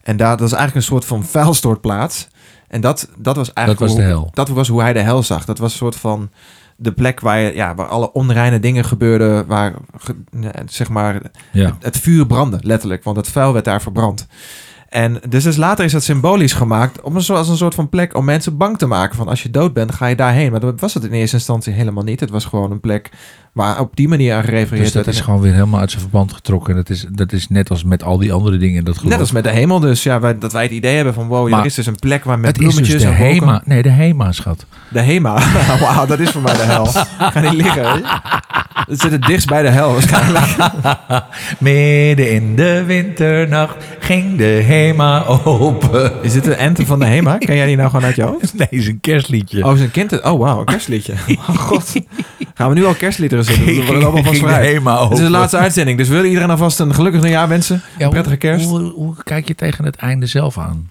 En daar, dat was eigenlijk een soort van vuilstortplaats. En dat, dat was Dat eigenlijk was de hoe, hel. dat was hoe hij de hel zag. Dat was een soort van de plek waar, je- ja, waar alle onreine dingen gebeurden. Waar ge- nee, zeg maar, Ja. het vuur brandde, letterlijk. Want het vuil werd daar verbrand. En dus, dus later is dat symbolisch gemaakt om een, zo- als een soort van plek om mensen bang te maken. Van als je dood bent, ga je daarheen. Maar dat was het in eerste instantie helemaal niet. Het was gewoon een plek waar op die manier aan gerefereerd Dus dat werd. is En- gewoon weer helemaal uit zijn verband getrokken. Dat is, dat is net als met al die andere dingen in dat geloof. Net als met de hemel dus. Ja, wij- dat wij het idee hebben van wow, ja, Maar er is dus een plek waar met het is bloemetjes dus de en wolken- HEMA. Nee, de <laughs> HEMA, schat. De HEMA. <laughs> Wauw, dat is voor mij de hel. Ga niet <laughs> liggen. Het zit het dichtst bij de hel <laughs> waarschijnlijk. Midden in de winternacht ging de HEMA open. <laughs> Is dit een anthem van de HEMA? Ken jij die nou gewoon uit je hoofd? Nee, is een kerstliedje. Oh, is een kind. Oh, wauw, een <laughs> kerstliedje. Oh, god. Gaan we nu al kerstliederen zitten? We worden allemaal vast Ging de vrij. HEMA Dit is de open. laatste uitzending, dus wil iedereen alvast een gelukkig nieuwjaar wensen? Ja, hoe- prettige kerst. Hoe, hoe kijk je tegen het einde zelf aan?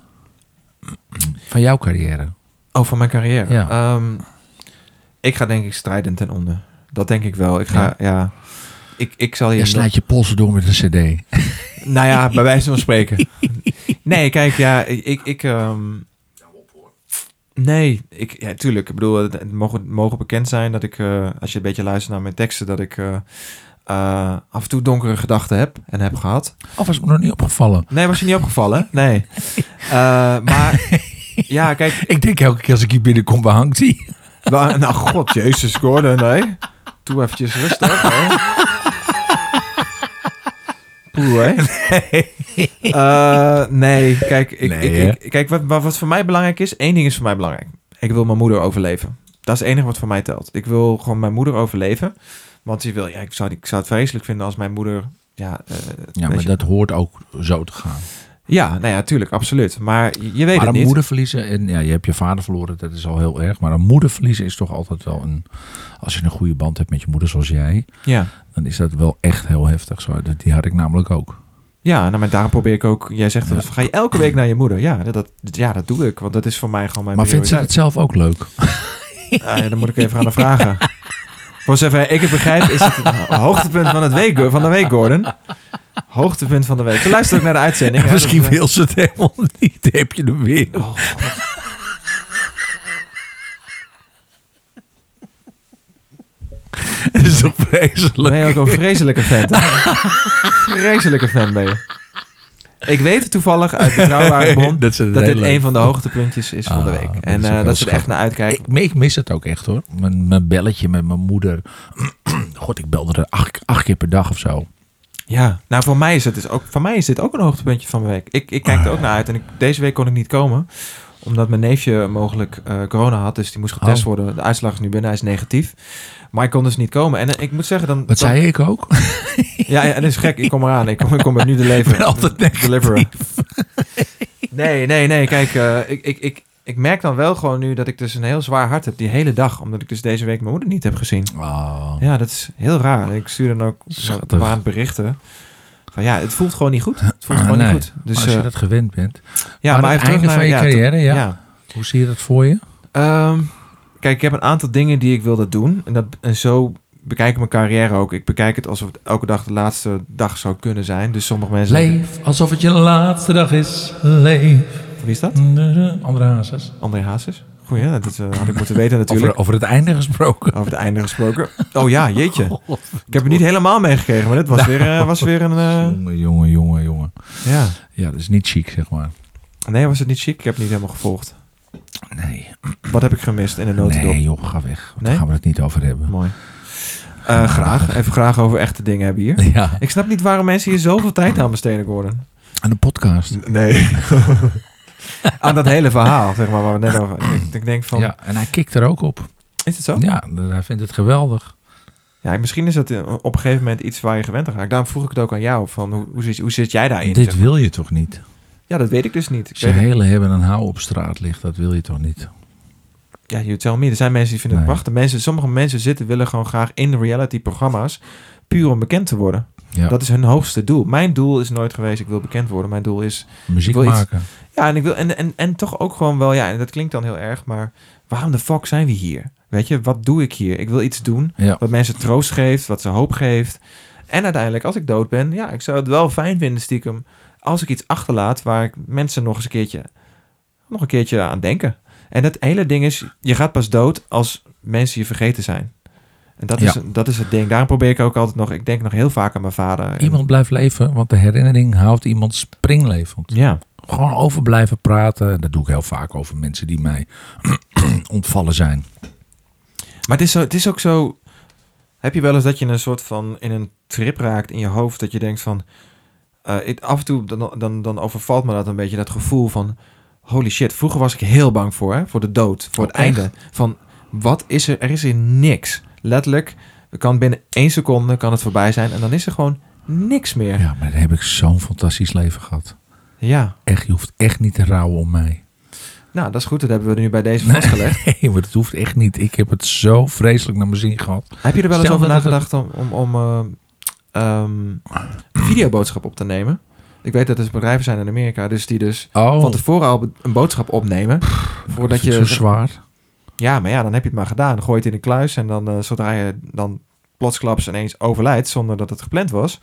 Van jouw carrière. Oh, van mijn carrière. Ja. Ehm, ik ga denk ik strijdend ten onder. Dat denk ik wel. Ik ga, ja. Ik, ik zal Je hier... slaat je polsen door met een cd. Nou ja, bij wijze van spreken. Nee, kijk, ja, ik... ik ehm, Nee, ik, ja, tuurlijk. Ik bedoel, het- het mogen, mogen bekend zijn dat ik, eh, als je een beetje luistert naar mijn teksten, dat ik eh, eh, af en toe donkere gedachten heb en heb gehad. Of was me nog niet opgevallen. Nee, was je niet opgevallen? Nee. Eh, maar ja, kijk. Ik denk elke keer als ik hier binnenkom, waar hangt die? wa- Nou, god, jezus, Gordon, nee. Doe eventjes rustig, hè. Poeh, hè? Eh, nee, kijk, ik, Nee, hè? ik, ik- kijk wat, wat wat voor mij belangrijk is, één ding is voor mij belangrijk. Ik wil mijn moeder overleven. Dat is het enige wat voor mij telt. Ik wil gewoon mijn moeder overleven. Want die wil, ja, ik, zou, ik zou het vreselijk vinden als mijn moeder... Ja, eh, Ja, weet maar je- dat hoort ook zo te gaan. ja, nou ja, tuurlijk, absoluut. Maar je- je weet maar het een niet. moeder verliezen, en ja, je hebt je vader verloren, dat is al heel erg. Maar een moeder verliezen is toch altijd wel een. Als je een goede band hebt met je moeder zoals jij, Ja. dan is dat wel echt heel heftig. Zo, dat- die had ik namelijk ook. Ja, nou, maar daarom probeer ik ook... Jij zegt, Ja. dat ga je elke week naar je moeder? Ja dat, dat- ja, dat doe ik. Want dat is voor mij gewoon mijn Maar vindt ze prioriteit. het zelf ook leuk? Ah, ja, dan moet ik even aan haar vragen. <laughs> Voor zover ik het begrijp, is het het hoogtepunt van, het week, van de week, Gordon. Hoogtepunt van de week. Ze luistert ook naar de uitzending. hè, <laughs> Misschien dat, eh, wil ze het helemaal <laughs> niet. Heb je hem weer? oh, God. <laughs> Dat is toch vreselijk? ben je ook een vreselijke fan. hè? <laughs> vreselijke fan ben je. Ik weet toevallig uit <laughs> betrouwbare bron Dat ze het dat heel dit leuk een van de hoogtepuntjes is van de Ah, week. dat En is eh, ook heel dat ze er echt schattig. naar uitkijkt. Ik, ik mis het ook echt hoor. Mijn, mijn belletje met mijn moeder. <clears throat> God, ik belde er acht, acht keer per dag of zo. Ja, nou voor mij is, het dus ook, voor mij is dit ook een hoogtepuntje van de week. Ik, ik Ah, kijk er ook naar uit en ik, deze week kon ik niet komen. Omdat mijn neefje mogelijk eh, corona had, dus die moest getest Oh. worden. De uitslag is nu binnen, hij is negatief. Maar ik kon dus niet komen. En eh, ik moet zeggen dan... Wat zei ik ook? Ja, ja, dat is gek. Ik kom eraan. Ik kom, ik kom er nu de <laughs> Ik ben leven. altijd negatief. Deliverer. Nee, nee, nee. Kijk, eh, ik, ik, ik, ik merk dan wel gewoon nu dat ik dus een heel zwaar hart heb die hele dag. Omdat ik dus deze week mijn moeder niet heb gezien. <laughs> Oh. Ja, dat is heel raar. Ik stuur dan ook Schattig. waand berichten. Van ja, het voelt gewoon niet goed. Het voelt gewoon Nee, niet goed. Dus, maar als je eh, dat gewend bent. ja, maar maar het even terug einde naar- van je ja, carrière, te- ja. Hoe zie je dat voor je? Ehm, kijk, ik heb een aantal dingen die ik wilde doen. En, dat, en zo bekijk ik mijn carrière ook. Ik bekijk het alsof het elke dag de laatste dag zou kunnen zijn. Dus sommige mensen... denken, Leef alsof het je laatste dag is. Leef. Wie is dat? Andere hazes. André Hazes. Goeie, hè? dat eh, had ik moeten weten natuurlijk. Over, over het einde <laughs> gesproken. Over het einde gesproken. Oh ja, <laughs> jeetje. Ik heb het niet helemaal meegekregen, maar dit was Nou, weer, eh, was weer een... eh, Jongen, jongen, jongen, jongen. ja. Ja, dat is niet chic, zeg maar. Nee, was het niet chic? Ik heb het niet helemaal gevolgd. Nee, Wat heb ik gemist in de notendop? nee joh, ga weg. Daar Nee? gaan we het niet over hebben. Mooi. Eh, graag. Even graag over echte dingen hebben hier. <laughs> Ja, Ik snap niet waarom mensen hier zoveel tijd aan besteden worden. aan de podcast. Nee. <laughs> aan dat hele verhaal, zeg maar, waar we het net over... Ik, ik denk van... Ja, en hij kikt er ook op. Is het zo? Ja, hij vindt het geweldig. Ja, misschien is dat eh, op een gegeven moment iets waar je gewend aan raakt. Daarom vroeg ik het ook aan jou, van hoe, hoe, zit, hoe zit jij daarin? zeg Dit wil je toch niet? Ja, dat weet ik dus niet. Ik Zijn weet het- hele hebben en hou op straat ligt, dat wil je toch niet? ja, you tell me. Er zijn mensen die vinden het Nee. prachtig. Mensen, sommige mensen zitten, willen gewoon graag in reality programma's puur om bekend te worden. Ja, Dat is hun hoogste doel. Mijn doel is nooit geweest, ik wil bekend worden. Mijn doel is, muziek wil iets- maken. ja, en ik wil, en, en, en toch ook gewoon wel, ja, en dat klinkt dan heel erg, maar waarom de fuck zijn we hier? Weet je, wat doe ik hier? Ik wil iets doen Ja. wat mensen troost geeft, wat ze hoop geeft. En uiteindelijk, als ik dood ben, ja, ik zou het wel fijn vinden stiekem als ik iets achterlaat waar ik mensen nog eens een keertje, nog een keertje aan denken. En dat hele ding is, je gaat pas dood als mensen je vergeten zijn. En dat, is, Ja. dat is het ding. Daarom probeer ik ook altijd nog, ik denk nog heel vaak aan mijn vader. En- Iemand blijft leven, want de herinnering houdt iemand springlevend. Ja, Gewoon over blijven praten. Dat doe ik heel vaak over mensen die mij <clears throat> ontvallen zijn. maar het is, zo, het is ook zo, heb je wel eens dat je een soort van, in een trip raakt in je hoofd, dat je denkt van, eh, ik- af en toe dan, dan, dan overvalt me dat een beetje, dat gevoel van, holy shit, vroeger was ik heel bang voor, hè, voor de dood, voor het Oh, echt? einde. Van, wat is er? Er is hier niks. Letterlijk, er kan binnen één seconde kan het voorbij zijn en dan is er gewoon niks meer. Ja, Ja, maar dan heb ik zo'n fantastisch leven gehad. Echt, je hoeft echt niet te rouwen om mij. nou, dat is goed, dat hebben we nu bij <laughs> deze vastgelegd. Nee, maar dat hoeft echt niet. Ik heb het zo vreselijk naar mijn zin gehad. Heb je er wel eens Stel over dat het- nagedacht om, om, om eh, ehm, videoboodschap op te nemen? Ik weet dat er bedrijven zijn in Amerika, dus die dus Oh, van tevoren al be- een boodschap opnemen. Voordat dat is je, zo zwaar. ja, maar ja, dan heb je het maar gedaan. Dan gooi je het in de kluis en dan eh, zodra je dan plotsklaps ineens overlijdt zonder dat het gepland was.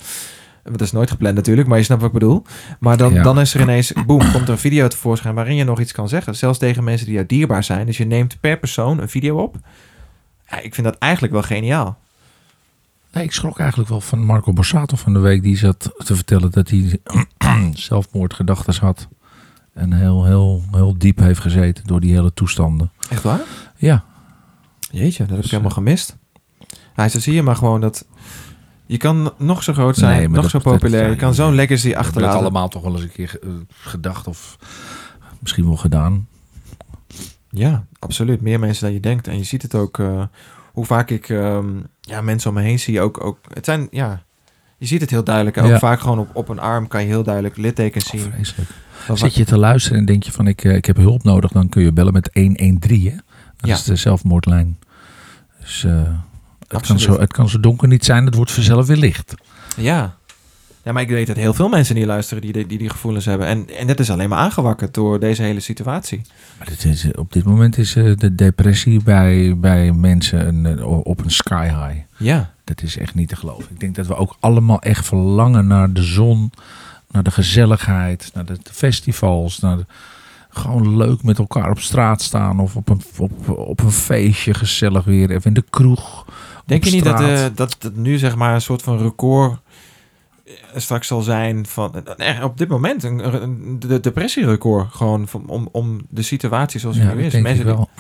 Want dat is nooit gepland natuurlijk, maar je snapt wat ik bedoel. Maar dan, Ja. dan is er ineens, boem, komt er een video tevoorschijn waarin je nog iets kan zeggen. Zelfs tegen mensen die jou dierbaar zijn. Dus je neemt per persoon een video op. Ja, ik vind dat eigenlijk wel geniaal. Nee, ik schrok eigenlijk wel van Marco Borsato van de week. Die zat te vertellen dat hij <clears throat> zelfmoordgedachten had. En heel, heel, heel diep heeft gezeten door die hele toestanden. Echt waar? Ja, Jeetje, dat heb ik Dus, helemaal gemist. Hij zo zie je maar gewoon dat je kan nog zo groot zijn, Nee, maar nog dat- zo populair, dat- je kan zo'n legacy We hebben het achterlaten. allemaal toch wel eens een keer eh, gedacht of misschien wel gedaan. Ja, absoluut. Meer mensen dan je denkt. En je ziet het ook eh, hoe vaak ik ehm, ja, mensen om me heen zie. Ook, ook, het zijn, ja, je ziet het heel duidelijk. En Ook Ja. vaak gewoon op, op een arm kan je heel duidelijk littekens zien. Vreselijk. Wat- eh, Zit je te luisteren en denk je van ik, eh, ik heb hulp nodig, dan kun je bellen met 113. Hè? Dat Ja. is de zelfmoordlijn. Dus eh, het, kan Absoluut. zo, het kan zo donker niet zijn, het wordt vanzelf weer licht. Ja. Ja, maar ik weet dat heel veel mensen die luisteren die die, die, die gevoelens hebben. En, en dat is alleen maar aangewakkerd door deze hele situatie. Maar dit is, op dit moment is eh, de depressie bij, bij mensen een, eh, op een sky high. Ja. Dat is echt niet te geloven. Ik denk dat we ook allemaal echt verlangen naar de zon, naar de gezelligheid, naar de festivals, naar de- gewoon leuk met elkaar op straat staan of op een, op, op een feestje gezellig weer even in de kroeg. Denk op je niet dat, straat. eh, dat het nu zeg maar een soort van record eh, straks zal zijn van eh, op dit moment een, een de- de depressierecord gewoon van, om, om de situatie zoals het Ja, nu dat is. denk ik die- <clears throat> wel.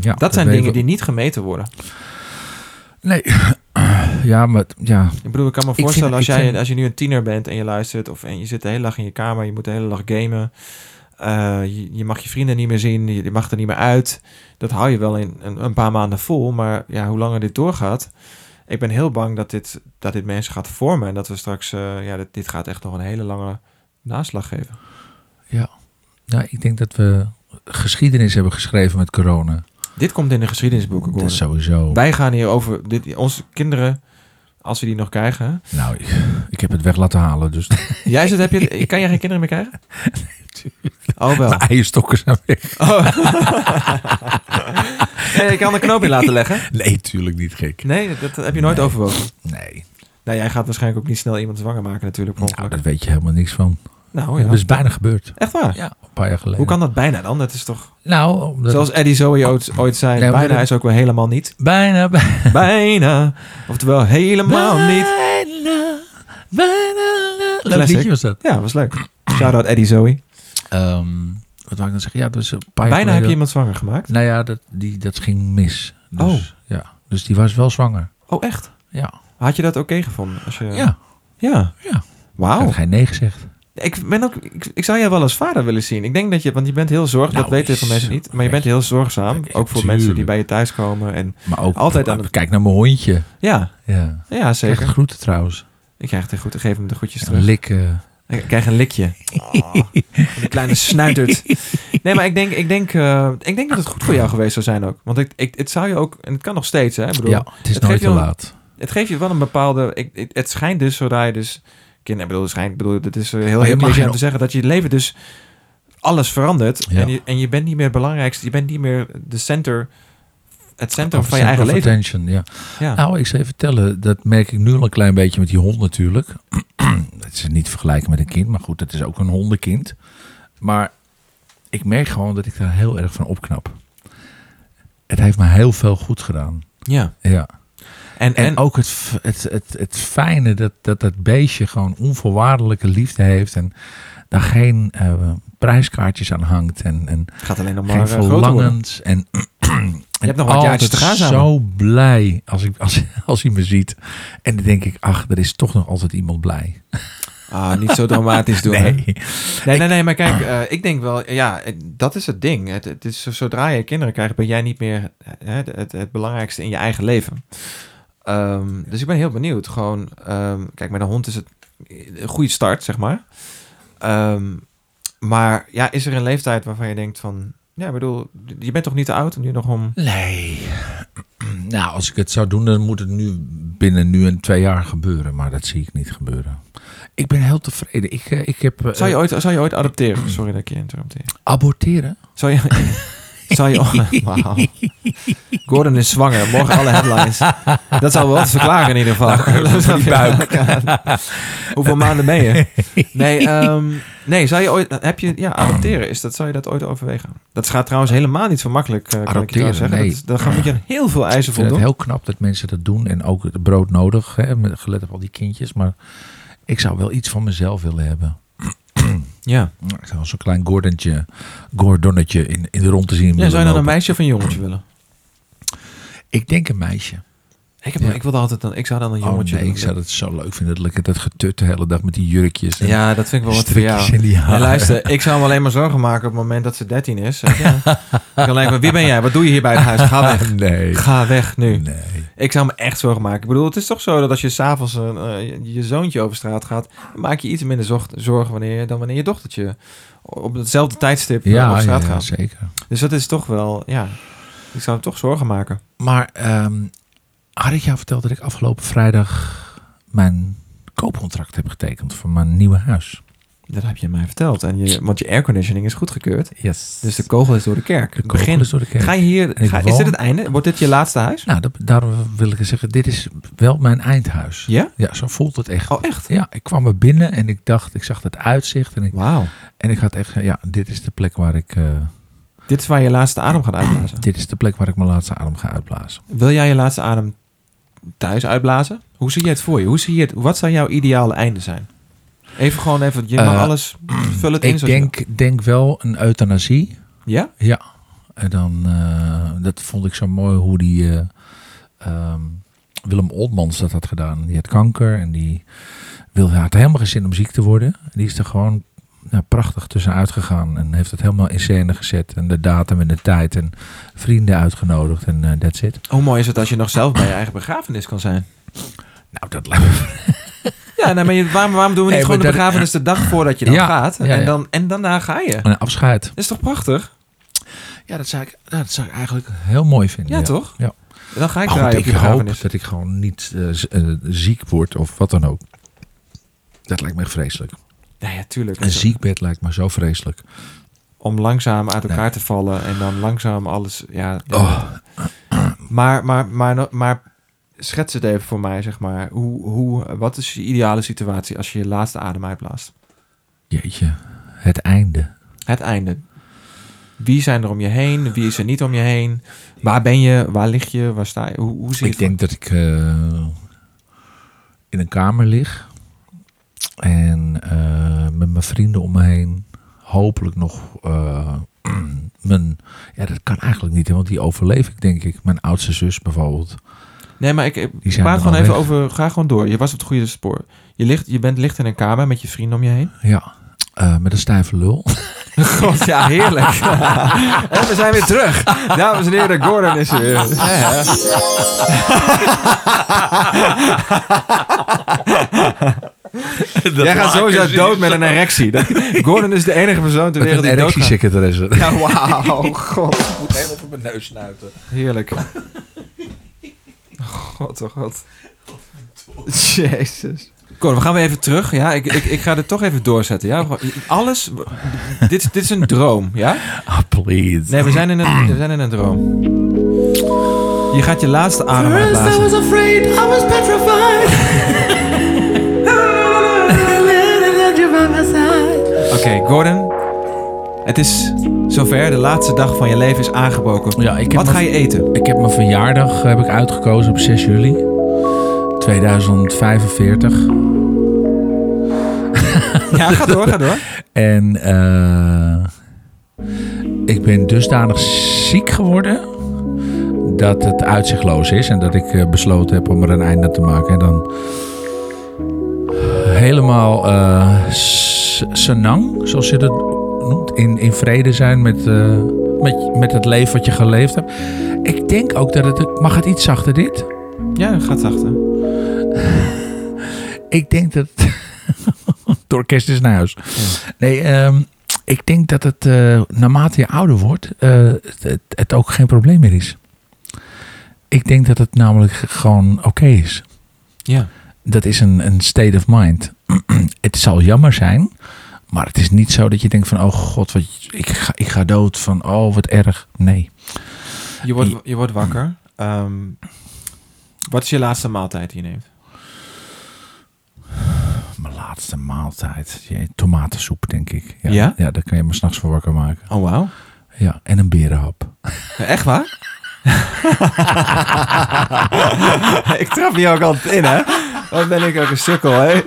Ja, dat zijn dingen weten die niet gemeten worden. we- Nee, ja, maar ja, Ik bedoel, ik kan me vind- voorstellen ik als, jij, vind- als je nu een tiener bent en je luistert of en je zit de hele dag in je kamer, je moet de hele dag gamen. eh, je, je mag je vrienden niet meer zien, je, je mag er niet meer uit. Dat hou je wel in een, een paar maanden vol, maar ja, hoe langer dit doorgaat. Ik ben heel bang dat dit, dat dit mensen gaat vormen en dat we straks, eh, ja, dit, dit gaat echt nog een hele lange naslag geven. ja, ik denk dat we geschiedenis hebben geschreven met corona. Dit komt in de geschiedenisboeken. Dat is Gordon. sowieso. Wij gaan hier over, dit, onze kinderen, als we die nog krijgen. Nou, ik, ik heb het weg laten <laughs> halen, dus Jij zit, heb <laughs> je, kan jij geen kinderen meer krijgen? Oh wel. mijn eierstokken zijn weg. Oh. nee, ik kan de knoop in laten leggen. Nee, tuurlijk niet <laughs> gek. Nee, dat heb je nooit Nee. overwogen. Nee, Nou, jij gaat waarschijnlijk ook niet snel iemand zwanger maken natuurlijk. per nou, ongeluk. daar weet je helemaal niks van. Nou, Dat Mm, ja. is bijna gebeurd. Echt waar? Ja, een paar jaar geleden. Hoe kan dat bijna dan? Dat is toch... Nou, omdat Zoals Eddie Zoe ooit, ooit zei, Nee, maar bijna dat- is ook wel helemaal <laughs> niet. bijna, bijna, Bijna. Oftewel helemaal niet. bijna, bijna. Leuk Classic. liedje was dat. Ja, was leuk. Shout-out Eddie Zoe. Ehm, wat wou ik dan zeggen? Ja, dat was een paar Bijna jaar heb je Oh. geleden. iemand zwanger gemaakt. Nou ja, dat, die, dat ging mis. Dus, Ja, dus die was wel zwanger. Oh, echt? Ja, Had je dat oké gevonden? Als je... ja. Ja. Ja. Ik Wauw. had geen nee gezegd. Ik, ben ook, ik, ik zou jou wel als vader willen zien. Ik denk dat je, want je bent heel zorg, Nou, dat weten heel veel mensen niet, maar je bent heel zorgzaam. Ja, Ook voor tuurlijk. mensen die bij je thuis komen. En, Maar ook, Altijd aan het- kijk naar mijn hondje. ja, Ja, ja, Zeker. zeker. groeten trouwens. Ik krijg het goed, ik geef hem de goedjes Ja, terug. likken. Ik krijg een likje. Oh, die kleine <laughs> snuitert. Nee, maar ik denk, ik, denk, eh, ik denk dat het goed voor jou geweest zou zijn ook. Want ik, ik, het zou je ook, en het kan nog steeds, hè? Ik bedoel, Ja, het is het nooit geeft te je wel- laat. Het geeft je wel een bepaalde. Ik, ik- het schijnt dus zodra je dus. Kinderen, ik bedoel, het schijnt. Ik bedoel, het is eh, heel Maar je heel mag cliché om er- te zeggen dat je leven dus alles verandert. Ja. En, je, en je bent niet meer het belangrijkste. Je bent niet meer de center. Het centrum van je eigen Center of leven. Ah. attention, ja. Ja. Nou, ik zou je vertellen, dat merk ik nu al een klein beetje met die hond natuurlijk. <clears throat> dat is niet te vergelijken met een kind, maar goed, dat is ook een hondenkind. Maar ik merk gewoon dat ik daar heel erg van opknap. Het heeft me heel veel goed gedaan. ja. Ja. En, En, en, ook het, f- het, het, het fijne dat, dat dat beestje gewoon onvoorwaardelijke liefde heeft. En daar geen eh, prijskaartjes aan hangt. En, en het gaat alleen nog maar geen eh, groter worden. verlangens. En, <clears throat> Je hebt nog wat jaartjes te gaan samen. zo blij als, ik, als, <laughs> als hij me ziet. En dan denk ik, ach, er is toch nog altijd iemand blij. Ah, niet zo <laughs> dramatisch doen. hè? nee. Nee, nee, nee, maar kijk, eh, ik denk wel, ja, eh, dat is het ding. Het, het is, zo- zodra je kinderen krijgt, ben jij niet meer eh, het, het, het belangrijkste in je eigen leven. Ehm, dus ik ben heel benieuwd. Gewoon, ehm, kijk, met een hond is het een goede start, zeg maar. Ehm, maar ja, is er een leeftijd waarvan je denkt van, ja, ik bedoel, je bent toch niet te oud om nu nog om. Nee. <clears throat> Nou, als ik het zou doen, dan moet het nu binnen nu en twee jaar gebeuren. Maar dat zie ik niet gebeuren. Ik ben heel tevreden. Ik, eh, ik heb... eh, Zou je ooit, zou je ooit adopteren? Sorry dat ik je interrompeer. Aborteren? Zou <laughs> je. Zou je. Wauw. Gordon is zwanger. Morgen alle headlines. Dat zou wel te verklaren in ieder geval. Nou, <laughs> die buik. Hoeveel maanden ben <laughs> je? Nee, ehm, nee, zou je ooit. Heb je. Ja, adopteren. Is dat, zou je dat ooit overwegen? Dat gaat trouwens helemaal niet zo makkelijk. eh, kan ik je Adopteren, trouwens zeggen. nee. Dat is- Daar gaan moet je aan heel veel eisen Ik vind het voldoen. heel knap dat mensen dat doen en ook het brood nodig, hè, met- gelet op al die kindjes. Maar ik zou wel iets van mezelf willen hebben. Ja. Ik zou zo'n klein gordentje, gordonnetje in, in de rond te zien ja. willen Zou je dan een lopen. meisje of een jongetje willen? Ik denk een meisje. Ik, heb, Ja. ik wilde altijd dan. Ik zou dan een Oh jongetje nee, ik willen. zou dat zo leuk vinden. Dat lekker dat getut de hele dag met die jurkjes <laughs> en Ja, dat vind ik wel wat voor strikjes jou. in die Ja, haren. luister, ik zou hem alleen maar zorgen maken op het moment dat ze 13 is. Zeg, ja. <laughs> ik kan alleen maar, wie ben jij? Wat doe je hier bij het huis? Ga weg. Ah, nee, Ga weg nu. nee. Ik zou me echt zorgen maken. Ik bedoel, het is toch zo dat als je s'avonds een, eh, je- je zoontje over straat gaat, dan maak je iets minder zorg- zorgen wanneer, dan wanneer je dochtertje op hetzelfde tijdstip eh, Ja, over ja, straat ja, gaat. zeker. Dus dat is toch wel, ja, ik zou hem toch zorgen maken. Maar ehm had ik jou verteld dat ik afgelopen vrijdag mijn koopcontract heb getekend voor mijn nieuwe huis. Dat heb je mij verteld. En je, want je airconditioning is goedgekeurd. Yes. Dus de kogel is door de kerk. de Begin- begin is door de kerk. Ga je hier, ik ga- is woon- dit het einde? Wordt dit je laatste huis? Nou, dat- daarom wil ik zeggen, dit is wel mijn eindhuis. Ja? Ja, zo voelt het echt. Oh, echt? Ja, ik kwam er binnen en ik dacht, ik zag dat uitzicht en ik, Wauw. en ik had echt, ge- ja, dit is de plek waar ik, eh, Dit is waar je laatste adem gaat <clears throat> uitblazen. dit is de plek waar ik mijn laatste adem ga uitblazen. Wil jij je laatste adem thuis uitblazen? Hoe zie je het voor je? Hoe zie je het, wat zou jouw ideale einde zijn? Even gewoon even, je mag Eh, <clears throat> alles, vul het in. Ik zoals je denk, denk wel een euthanasie. wil. Ja? En dan, eh, dat vond ik zo mooi hoe die eh, ehm, Willem Oldmans dat had gedaan. Die had kanker en die wilde, had helemaal geen zin om ziek te worden. En Die is er gewoon nou, prachtig tussenuit gegaan en heeft het helemaal in scène gezet. En de datum en de tijd en vrienden uitgenodigd en eh, that's it. Hoe mooi is het als je nog zelf bij je eigen begrafenis kan zijn? Nou, dat <laughs> lijkt me... Ja, nou, maar je, waarom, waarom doen we niet Nee, gewoon de maar dat- begrafenis de dag voordat je dan Ja, gaat? ja, En, ja. dan, en daarna ga je. Dat Een afscheid. is toch prachtig? Ja, dat zou ik, dat zou ik eigenlijk heel mooi vinden. Ja, toch? ja. Dan ga ik Maar goed, draaien op ik je hoop begrafenis. dat ik gewoon niet eh, z- eh, ziek word of wat dan ook. Dat lijkt me echt vreselijk. Nou ja, tuurlijk. Een ziekbed lijkt me zo vreselijk. Om langzaam uit Nee. elkaar te vallen en dan langzaam alles... Ja, Oh, Maar, maar, maar, maar schets het even voor mij, zeg maar. Hoe, hoe, wat is je ideale situatie als je je laatste adem uitblaast? jeetje, het einde. Het einde. Wie zijn er om je heen? Wie is er niet om je heen? Waar ben je? Waar lig je? Waar sta je? Hoe, hoe zie je Ik denk dat ik eh, in een kamer lig. En eh, met mijn vrienden om me heen. Hopelijk nog eh, <clears throat> mijn... Ja, dat kan eigenlijk niet, hè, want die overleef ik, denk ik. Mijn oudste zus bijvoorbeeld. Nee, maar ik, ik zijn praat er gewoon al even weg. over... Ga gewoon door. Je was op het goede spoor. Je, ligt, je bent licht in een kamer met je vrienden om je <laughs> heen. <laughs> Ja, eh, met een stijve <laughs> lul. God, ja, heerlijk. <laughs> en we zijn weer terug. Dames en heren, Gordon is er weer. Ja, ja. Jij gaat sowieso dood met een erectie. Dat- Gordon is de enige persoon ter Met wereld een die doodgaat. erectiesecretaresse. Ja, <laughs> wauw. God, moet helemaal op mijn neus snuiten. heerlijk. God, oh god. Jezus. Gordon, we gaan weer even terug. Ja, ik, ik, ik ga dit toch even doorzetten. Ja? Alles, dit, is- dit is een droom, ja? Ah, please. Nee, we zijn in een, we zijn in een droom. Je gaat je laatste adem First I uitblazen. was afraid, I was petrified. Let you by my side. Oké, Gordon. Het is zover. De laatste dag van je leven is aangebroken. Ja, ik heb Wat mijn- ga je <laughs> eten? Ik heb mijn verjaardag eh, heb ik uitgekozen op 6 juli 2045. Ja, ga door, ga door. En eh, ik ben dusdanig ziek geworden dat het uitzichtloos is. En dat ik eh, besloten heb om er een einde aan te maken. En dan helemaal eh s- senang, zoals je dat noemt. In, in vrede zijn met, eh, met, met het leven wat je geleefd hebt. Ik denk ook dat het... Mag het iets zachter dit? Ja, gaat zachter. Ik denk dat. <laughs> het orkest is naar huis. Nee, ehm, ik denk dat het eh, naarmate je ouder wordt, eh, het, het ook geen probleem meer is. Ik denk dat het namelijk gewoon oké is. Ja. Dat is een, een state of mind. <clears throat> het zal jammer zijn, maar het is niet zo dat je denkt van, oh god, wat, ik, ga, ik ga dood, van, oh wat erg. Nee. Je wordt, je wordt wakker. Ehm, wat is je laatste maaltijd die je neemt? Mijn laatste maaltijd, Jee, tomatensoep denk ik. Ja? ja daar kan je me s'nachts voor wakker maken. Oh, wauw. Ja, en een berenhap. Echt waar? <laughs> ik trap hier ook altijd in, hè? Wat ben ik ook een sukkel, hè?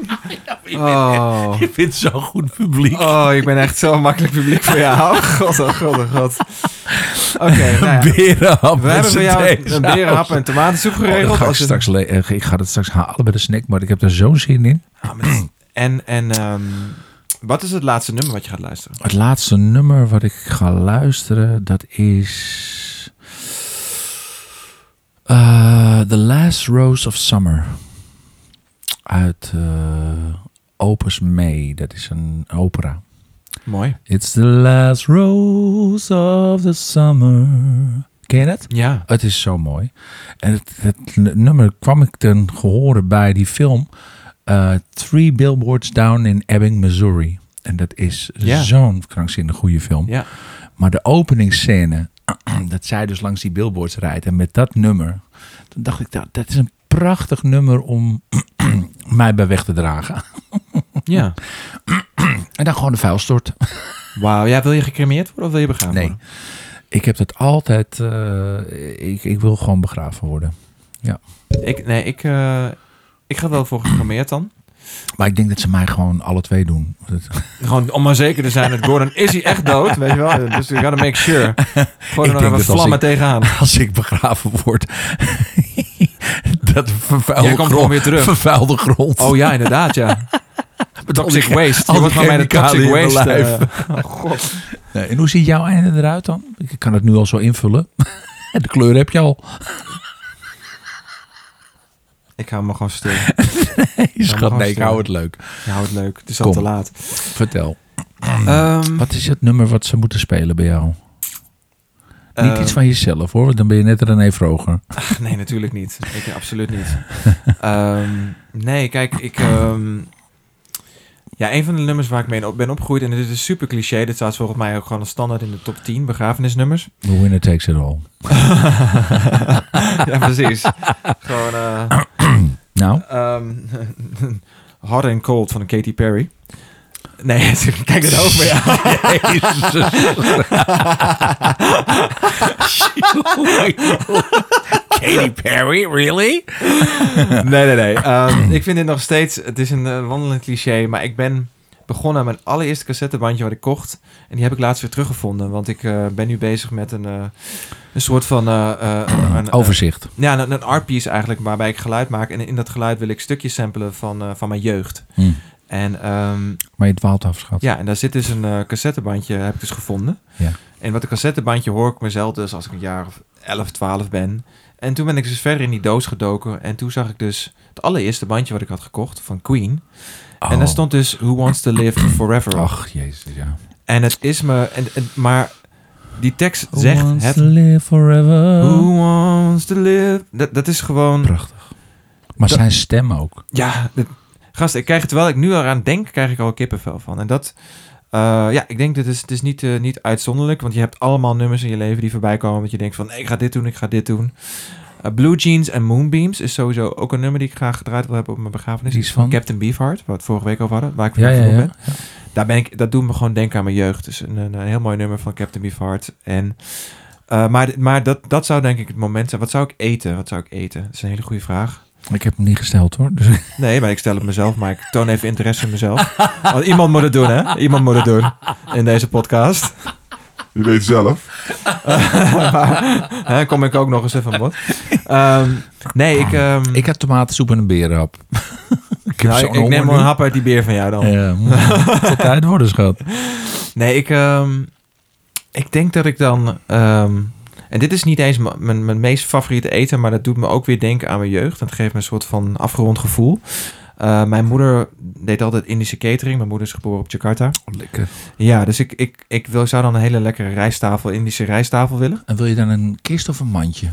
Oh. Ik vind zo'n goed publiek. Oh, ik ben echt zo makkelijk publiek voor jou. <laughs> Oh, god, oh, god, oh, god. Oké, nou ja. Berenhap. Oh, We hebben voor jou een, Oh, een berenhap en tomatensoep geregeld. ga ik, Als het- straks le- eh, ik ga dat straks halen bij de snack, maar ik heb daar zo'n zin in. Ah, maar dat is- En, en ehm, wat is het laatste nummer wat je gaat luisteren? Het laatste nummer wat ik ga luisteren, dat is... eh, The Last Rose of Summer. Uit eh, Opus May. Dat is een opera. Mooi. It's the last rose of the summer. Ken je dat? Ja. Het is zo mooi. En het, het nummer kwam ik ten gehore bij die film eh, eh, Three Billboards Down in Ebbing, Missouri. En dat is Ja. zo'n krankzinnig goede film. Ja. Maar de openingsscène, <clears throat> dat zij dus langs die billboards rijdt en met dat nummer, toen dacht ik, dat, dat is een prachtig nummer om <clears throat> mij bij weg te dragen. Ja. En dan gewoon de vuil stort. Wauw. Ja, wil je gecremeerd worden of wil je begraven <laughs> Nee. worden? Ik heb dat altijd, eh, ik, ik wil gewoon begraven worden. Ik, nee, ik, eh, ik ga wel voor gecremeerd dan. Maar ik denk dat ze mij gewoon alle twee doen. Dat- Gewoon om maar zeker te zijn dat Gordon is hij echt dood, weet je wel. Dus we gotta make sure. Gewoon <laughs> Ik er nog denk dat als vlammen ik- tegenaan. <laughs> als ik begraven word. <laughs> dat vervuilde Jij komt grond- gewoon weer terug. Vervuilde grond. Oh ja, inderdaad, <laughs> ja. Toxic die- waste. al Je die wordt van mij de chemicaliën toxic in mijn waste. lijf. <laughs> eh. oh god. Nee, En hoe ziet jouw einde eruit dan? Ik kan het nu al zo invullen. <laughs> De kleur heb je al. Ik hou me gewoon <laughs> stil. Schat, nee, ik hartstikke. hou het leuk. Je houdt het leuk. Het is al Kom. Mm. te laat. Vertel. Ehm, Wat is het nummer wat ze moeten spelen bij jou? Niet eh, iets van jezelf hoor, want dan ben je net René Vroger. Ach, nee, natuurlijk niet. Ik, eh, absoluut niet. Ehm, nee, kijk, ik... ehm, ja, een van de nummers waar ik mee op ben opgegroeid... en dit is super cliché. Dit staat volgens mij ook gewoon als standaard in de top 10 begrafenisnummers. <laughs> The winner takes it all. ja, precies. gewoon... eh, Nou, ehm, <laughs> Hot and Cold van Katy Perry. Nee, <laughs> kijk het over. Ja. <laughs> <laughs> Katy Perry, really? Nee, nee, nee. Ehm, ik vind dit nog steeds... Het is een eh, wandelend cliché, maar ik ben begonnen aan mijn allereerste cassettebandje wat ik kocht. En die heb ik laatst weer teruggevonden, want ik eh, ben nu bezig met een, eh, een soort van... eh, eh, een, een- Overzicht. ja, een, een art piece eigenlijk, waarbij ik geluid maak. En in dat geluid wil ik stukjes samplen van, eh, van mijn jeugd. Hm. En ehm, Maar je dwaalt af, schat. Ja, en daar zit dus een eh, cassettebandje, heb ik dus gevonden. Ja. En wat een cassettebandje hoor ik mezelf dus als ik een jaar of 11, 12 ben. En toen ben ik dus verder in die doos gedoken. En toen zag ik dus het allereerste bandje wat ik had gekocht van Queen. En daar Oh. stond dus Who Wants to Live Forever op. Ach, jezus, ja. En het is me... En, en- maar die tekst zegt Who wants het... to live forever. Who wants to live... Dat, dat is gewoon... Prachtig. Maar Dat- zijn stem ook. Ja, dit- gast, ik krijg, terwijl ik nu eraan denk, krijg ik al kippenvel van. En dat, eh, ja, ik denk, dit is, het is niet, eh, niet uitzonderlijk. Want je hebt allemaal nummers in je leven die voorbij komen. Dat je denkt van, nee, ik ga dit doen, ik ga dit doen. Eh, Blue Jeans en Moonbeams is sowieso ook een nummer die ik graag gedraaid wil hebben op mijn begrafenis. Die is van? Captain Beefheart, waar we het vorige week over hadden. Waar ik Ja, ja, verliefd op ja. ben. Daar ben ik, dat doet me gewoon denken aan mijn jeugd. Dus een, een, een heel mooi nummer van Captain Beefheart. En, eh, maar maar dat, dat zou denk ik het moment zijn. Wat zou ik eten? Wat zou ik eten? Dat is een hele goede vraag. Ik heb hem niet gesteld hoor. Dus, Nee, maar ik stel het mezelf, maar ik toon even interesse in mezelf. Want iemand moet het doen, hè? Iemand moet het doen in deze podcast. Je weet zelf. maar, hè, kom ik ook nog eens even aan bod. Ehm, nee, ik, ehm, <laughs> ik had tomatensoep en een berenhap. <laughs> ik heb nou, zo'n ik neem wel honger een nu. hap uit die beer van jou dan. <laughs> Ja, moet tot tijd worden, schat. Nee, ik, ehm, ik denk dat ik dan... ehm, en dit is niet eens m- mijn, mijn meest favoriete eten, maar dat doet me ook weer denken aan mijn jeugd. Dat geeft me een soort van afgerond gevoel. Eh, mijn moeder deed altijd Indische catering. Mijn moeder is geboren op Jakarta. Lekker. Ja, dus ik, ik, ik wil, zou dan een hele lekkere rijsttafel, Indische rijsttafel willen. En wil je dan een kist of een mandje?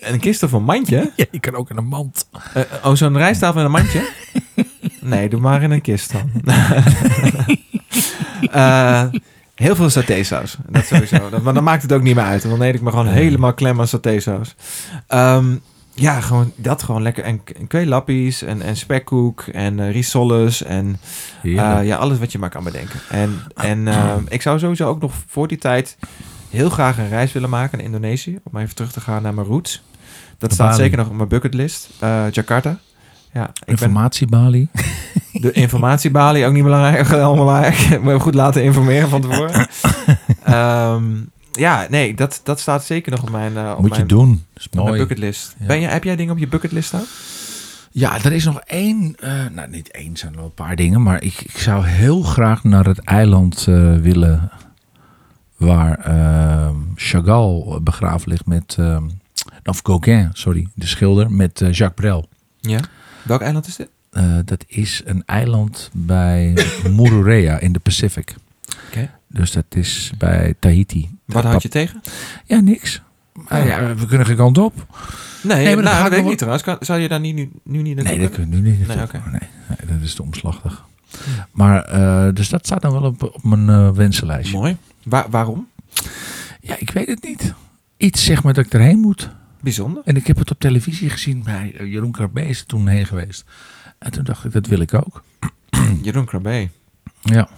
En een kist of een mandje? Ja, je kan ook in een mand. Eh, oh, zo'n rijsttafel en een mandje? Nee, doe maar in een kist dan. <laughs> Eh, heel veel satésaus. Dat sowieso. Dat, maar dan maakt het ook niet meer uit. Want dan eet ik me gewoon helemaal klem aan satésaus. Ehm, ja, gewoon dat gewoon lekker. En, en kweelappies en, en spekkoek en eh, risoles en... Ja. Eh, ja, alles wat je maar kan bedenken. En, Ah. en eh, ik zou sowieso ook nog voor die tijd heel graag een reis willen maken naar Indonesië. Om even terug te gaan naar mijn roots. Dat Naar staat Bali. zeker nog op mijn bucketlist. Eh, Jakarta. Ja, ik ben Oh, Informatiebalie. de informatiebalie ook niet belangrijk. <laughs> Allemaal waar. Ik moet me goed laten informeren van <laughs> tevoren. Ehm, ja, nee, dat, dat staat zeker nog op mijn, eh, op Moet je mijn, doen. Is op mijn mooi. bucketlist. Ja. Ben je, heb jij dingen op je bucketlist staan? Ja, er is nog één. eh, nou, niet één, zijn er wel een paar dingen. Maar ik, ik zou heel graag naar het eiland eh, willen. Waar ehm, Chagall begraven ligt met. ehm, of Gauguin, sorry, de schilder. Met eh, Jacques Brel. Ja. Welk eiland is dit? Eh, dat is een eiland bij <coughs> Mururoa in de Pacific. Oké. Dus dat is bij Tahiti. Wat houd je tegen? Ja, niks. Maar Ah, ja, we kunnen geen kant op. Nee, maar maar dat nou, ga ik dat weet nog ik wel- niet trouwens. Kan- zou je daar niet, nu, nu niet naartoe Nee, dat kunnen? kunnen we nu niet. Nee, natuurlijk. Nee, nee, dat is te omslachtig. Maar, eh, dus dat staat dan wel op, op mijn eh, wensenlijstje. Mooi. Wa- waarom? Ja, ik weet het niet. Iets zeg maar dat ik erheen moet. Bijzonder. En ik heb het op televisie gezien bij eh, Jeroen Krabbe is er toen heen geweest. En toen dacht ik, dat wil ik ook. Mm. Jeroen Krabbe. Ja,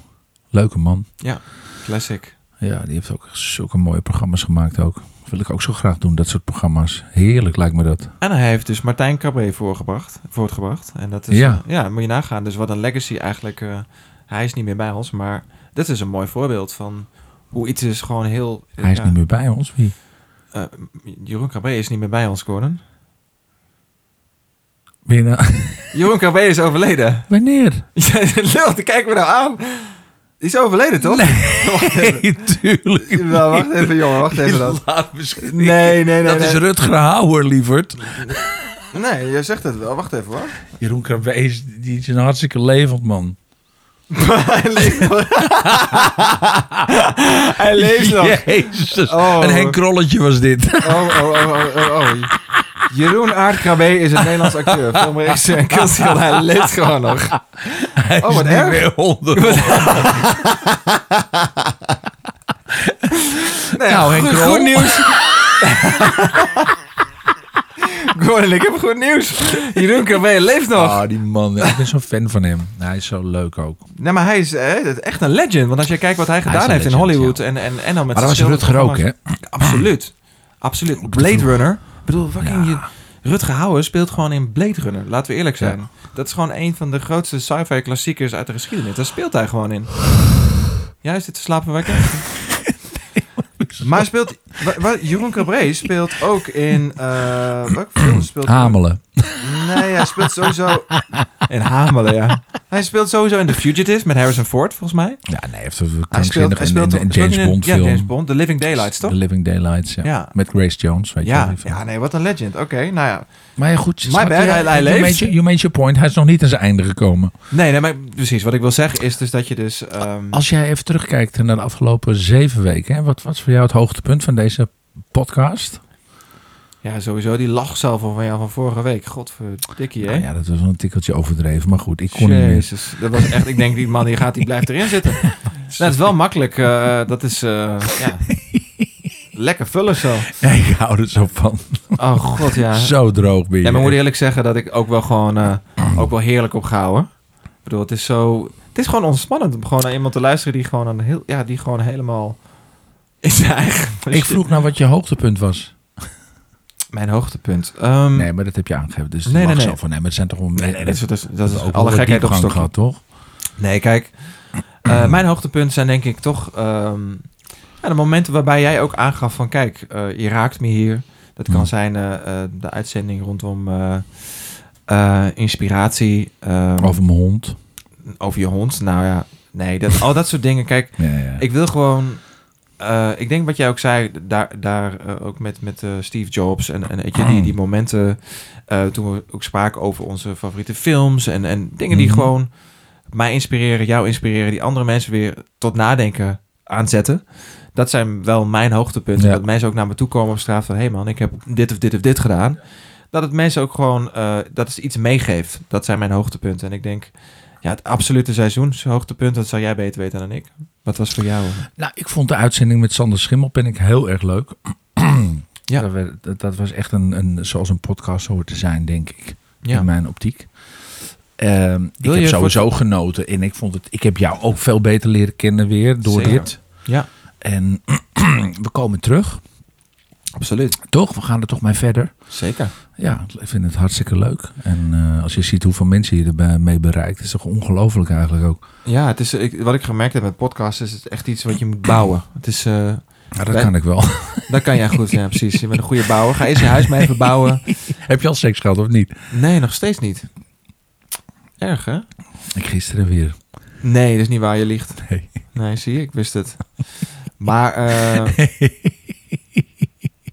leuke man. Ja, classic. Ja, die heeft ook zulke mooie programma's gemaakt ook. Wil ik ook zo graag doen, dat soort programma's. Heerlijk lijkt me dat. En hij heeft dus Martijn Krabbe voorgebracht, voortgebracht. En dat is, Ja. ja. moet je nagaan. Dus wat een legacy eigenlijk. eh, hij is niet meer bij ons, maar dit is een mooi voorbeeld van hoe iets is gewoon heel... eh, Hij is ja, niet meer bij ons. Wie? eh, Jeroen Krabbe is niet meer bij ons, Gordon. Ben je nou- <laughs> Jeroen Krabbe is overleden. <laughs> Wanneer? Jij lult, kijk me nou aan. Die is overleden, toch? <laughs> Wacht even. Nee, <laughs> tuurlijk. Nou, wacht even, jongen, wacht Oh, <laughs> even dan. Laat me schrikken. Nee, nee, nee. dat nee. is Rutger Hauer, lieverd. Nee, je zegt het wel. Wacht even hoor. Jeroen Krabbe is, die is een hartstikke levend man. Hij leeft nog. Hij leeft nog. <laughs> Jezus. Oh. Een Henk Krolletje was dit. <laughs> Oh, oh, oh, oh, oh, oh. Jeroen Aardkrabbe is een Nederlands <laughs> acteur. Filmregisseur en kunstschilder. Hij leeft gewoon nog. Hij Oh, is wat niet erg. meer onder. Nee, Nou, Henk goed, Krol. goed <laughs> nieuws. Gordon, ik heb goed nieuws. Jeroen Krabbe leeft nog. Ah, die man. ja, Ik ben zo'n fan van hem. Nou, Hij is zo leuk ook. Nee, maar hij is eh, echt een legend. Want als je kijkt wat hij gedaan is een heeft in legend, Hollywood en, en, en dan met Maar dat was zijn Rutger ook, hè? schilderprogramma's. Absoluut. Absoluut. Blade Runner. Ik bedoel, fucking je, Rutger Hauer speelt gewoon in Blade Runner. Laten we eerlijk zijn. Ja. Dat is gewoon een van de grootste sci-fi klassiekers uit de geschiedenis. Daar speelt hij gewoon in. Ja, is dit te slapen <laughs> wekker? maar hij speelt... wa- wa- Jeroen Cabré speelt ook in... eh welke film speelt hij? Hamelen. Nee, hij speelt sowieso... In Hamelen, ja. Hij speelt sowieso in The Fugitive met Harrison Ford, volgens mij. Ja, nee, hij heeft een Hij speelt, krankzinnig hij en, en, speelt, en speelt in James een- Bond ja, film. James Bond, The Living Daylights, toch? The Living Daylights, ja. Ja. Met Grace Jones, weet je wel, Ja, die film. ja, nee, wat een legend. Oké, nou ja. Maar ja, goed. bad, schat, ja, hij- hij leeft. you made your- you made your point. Hij is nog niet aan zijn einde gekomen. Nee, nee, maar precies. Wat ik wil zeggen is dus dat je dus... ehm, Als jij even terugkijkt naar de afgelopen zeven weken. Hè, wat was voor jou het hoogtepunt van deze podcast? ja, sowieso die lachsalvo van jou van vorige week. Godverdikkie, hè? Nou ja, dat was wel een tikkeltje overdreven. Maar goed, ik kon niet meer. Jezus, dat was echt... Ik denk, die man die gaat, die blijft erin <laughs> zitten. Nou, dat is wel makkelijk. eh, dat is... eh, ja. Lekker vullen zo. Nee, <laughs> ik hou er zo van. Oh, god, ja. Zo droog ben je. Ja, maar moet ik eerlijk zeggen dat ik ook wel gewoon eh, ook wel heerlijk op ga houden. Ik bedoel, het is zo. Het is gewoon ontspannend om gewoon naar iemand te luisteren die gewoon een heel, ja, die gewoon helemaal in zijn eigen. ik vroeg nou wat je hoogtepunt was. mijn hoogtepunt. Ehm, Nee, maar dat heb je aangegeven. Dus Nee, nee, nee, nee, nee. zo van. Nee, maar het zijn toch wel... nee, nee, dat is, dat is, dus, dat is ook wel alle wat gekheid op diepgang stokje. gehad, toch? Nee, kijk, eh, mijn hoogtepunt zijn denk ik toch ehm, ja, de momenten waarbij jij ook aangaf van kijk, eh, je raakt me hier. Dat kan Ja. zijn eh, eh, de uitzending rondom eh, eh, inspiratie. ehm, Over mijn hond. over je hond. Nou ja, nee, dat, al dat soort dingen. Kijk, Ja, ja. ik wil gewoon. eh, ik denk wat jij ook zei, daar, daar eh, ook met, met eh, Steve Jobs en, en weet je, Oh. die, die momenten. eh, toen we ook spraken over onze favoriete films en, en dingen die Mhm. gewoon mij inspireren, jou inspireren, die andere mensen weer tot nadenken aanzetten. Dat zijn wel mijn hoogtepunten. Ja. Dat mensen ook naar me toe komen op straat van: hé hey man, ik heb dit of dit of dit gedaan. Dat het mensen ook gewoon eh, dat het iets meegeeft. Dat zijn mijn hoogtepunten. En ik denk, ja, het absolute seizoenshoogtepunt, dat zou jij beter weten dan ik. Wat was voor jou? Nou, ik vond de uitzending met Sander Schimmelpenninck heel erg leuk. Ja. Dat, werd- dat, dat was echt een, een, zoals een podcast hoort te zijn, denk ik. Ja. In mijn optiek. Ehm, ik Wil je heb voor- sowieso genoten. En ik, vond het, ik heb jou ook veel beter leren kennen weer door Zeker. dit. Ja, En <clears throat> we komen terug. absoluut. Toch? We gaan er toch mee verder. Zeker. Ja, ik vind het hartstikke leuk. En eh, als je ziet hoeveel mensen je erbij mee bereikt, is toch ongelooflijk eigenlijk ook. Ja, het is, ik, wat ik gemerkt heb met podcasts is het echt iets wat je moet bouwen. Het is, eh, Ja, dat Ben- kan ik <laughs> wel. <laughs> dat kan jij goed, <laughs> ja precies. Je bent een goede bouwer. Ga eerst je huis mee even bouwen. heb je al seks gehad of niet? Nee, nog steeds niet. Erg, hè? Ik gisteren <laughs> weer. Nee, dat is niet waar je liegt. Nee. Nee, zie je, ik wist <laughs> het. Maar, eh,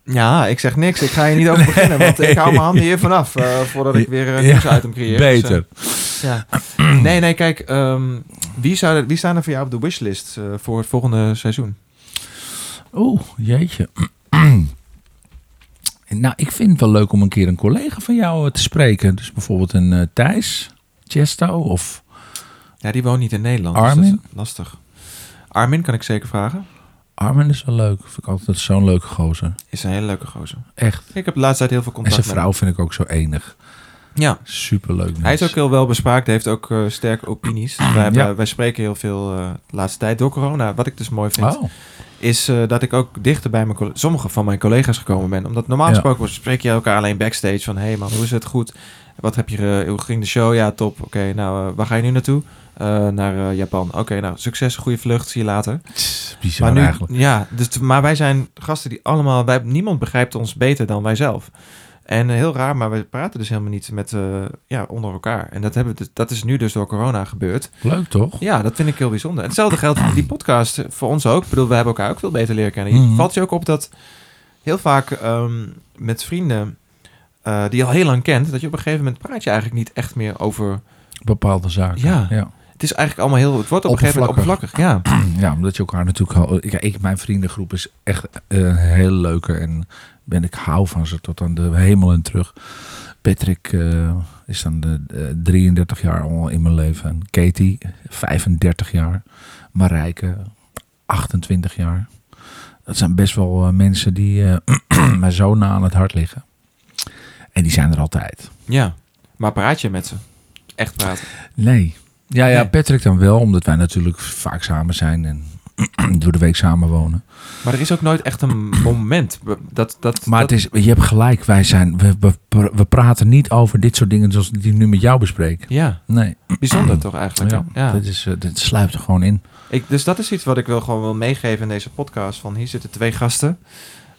ja, ik zeg niks. Ik ga hier niet over beginnen, want ik hou mijn handen hier vanaf eh, voordat ik weer een Ja, nieuwsitem creëer. Dus, eh, Beter. Ja. Nee, nee, kijk. ehm, wie, zou er- wie staan er voor jou op de wishlist eh, voor het volgende seizoen? Oeh, jeetje. <clears throat> Nou, ik vind het wel leuk om een keer een collega van jou eh, te spreken. Dus bijvoorbeeld een eh, Thijs, Chesto of... Ja, die woont niet in Nederland. Dus Armin? dat is lastig. Armin kan ik zeker vragen. Armin is wel leuk. Vind ik altijd zo'n leuke gozer. Is een hele leuke gozer. Echt. Ik heb de laatste tijd heel veel En contact zijn vrouw vind ik ook zo met enig. hem. Ja. Superleuk. mens. Hij is ook heel wel bespraakt, heeft ook eh, sterke <clears throat> opinies. Wij, hebben- Ja. wij spreken heel veel eh, de laatste tijd door corona. Wat ik dus mooi vind, Oh, is eh, dat ik ook dichter bij mijn colle- sommige van mijn collega's gekomen ben. Omdat normaal Ja. gesproken spreek je elkaar alleen backstage van... hé hey man, hoe is het goed? Wat heb je, eh, hoe ging de show? Ja, top. Oké, nou, eh, waar ga je nu naartoe? Eh, naar eh, Japan. Oké, nou, succes, goede vlucht, zie je later. tss, bizar nu, eigenlijk. Ja, dus, maar wij zijn gasten die allemaal... Wij, niemand begrijpt ons beter dan wij zelf. En eh, heel raar, maar we praten dus helemaal niet met, eh, ja, onder elkaar. En dat, hebben, we dus- dat is nu dus door corona gebeurd. Leuk toch? Ja, dat vind ik heel bijzonder. En Hetzelfde geldt voor die podcast eh, voor ons ook. Ik bedoel, we hebben elkaar ook veel beter leren kennen. Mhm. Valt je ook op dat heel vaak ehm, met vrienden eh, die je al heel lang kent, dat je op een gegeven moment praat je eigenlijk niet echt meer over. Bepaalde zaken. Ja. ja. Het is eigenlijk allemaal heel. Het wordt op een gegeven moment oppervlakkig. Ja. Ja, omdat je elkaar natuurlijk... al- Ja, ik, mijn vriendengroep is echt eh, heel leuk. En ben, ik hou van ze tot aan de hemel en terug. Patrick eh, is dan de, de 33 jaar al in mijn leven. En Katie, 35 jaar. Marijke, 28 jaar. Dat zijn best wel eh, mensen die eh <clears throat> mij zo na aan het hart liggen. En die zijn er altijd. ja. Maar praat je met ze? Echt praten. Nee. Ja, ja, Nee. Patrick dan wel, omdat wij natuurlijk vaak samen zijn en <clears throat> door de week samen wonen. Maar er is ook nooit echt een moment. Dat, dat, Maar dat, het is, je hebt gelijk, wij zijn, we, we, we praten niet over dit soort dingen zoals die ik nu met jou bespreek. Ja, Nee, bijzonder toch eigenlijk? ja, Ja. ja. Dat, is, eh, dat sluipt er gewoon in. Ik, dus dat is iets wat ik wel gewoon wil meegeven in deze podcast. Van hier zitten twee gasten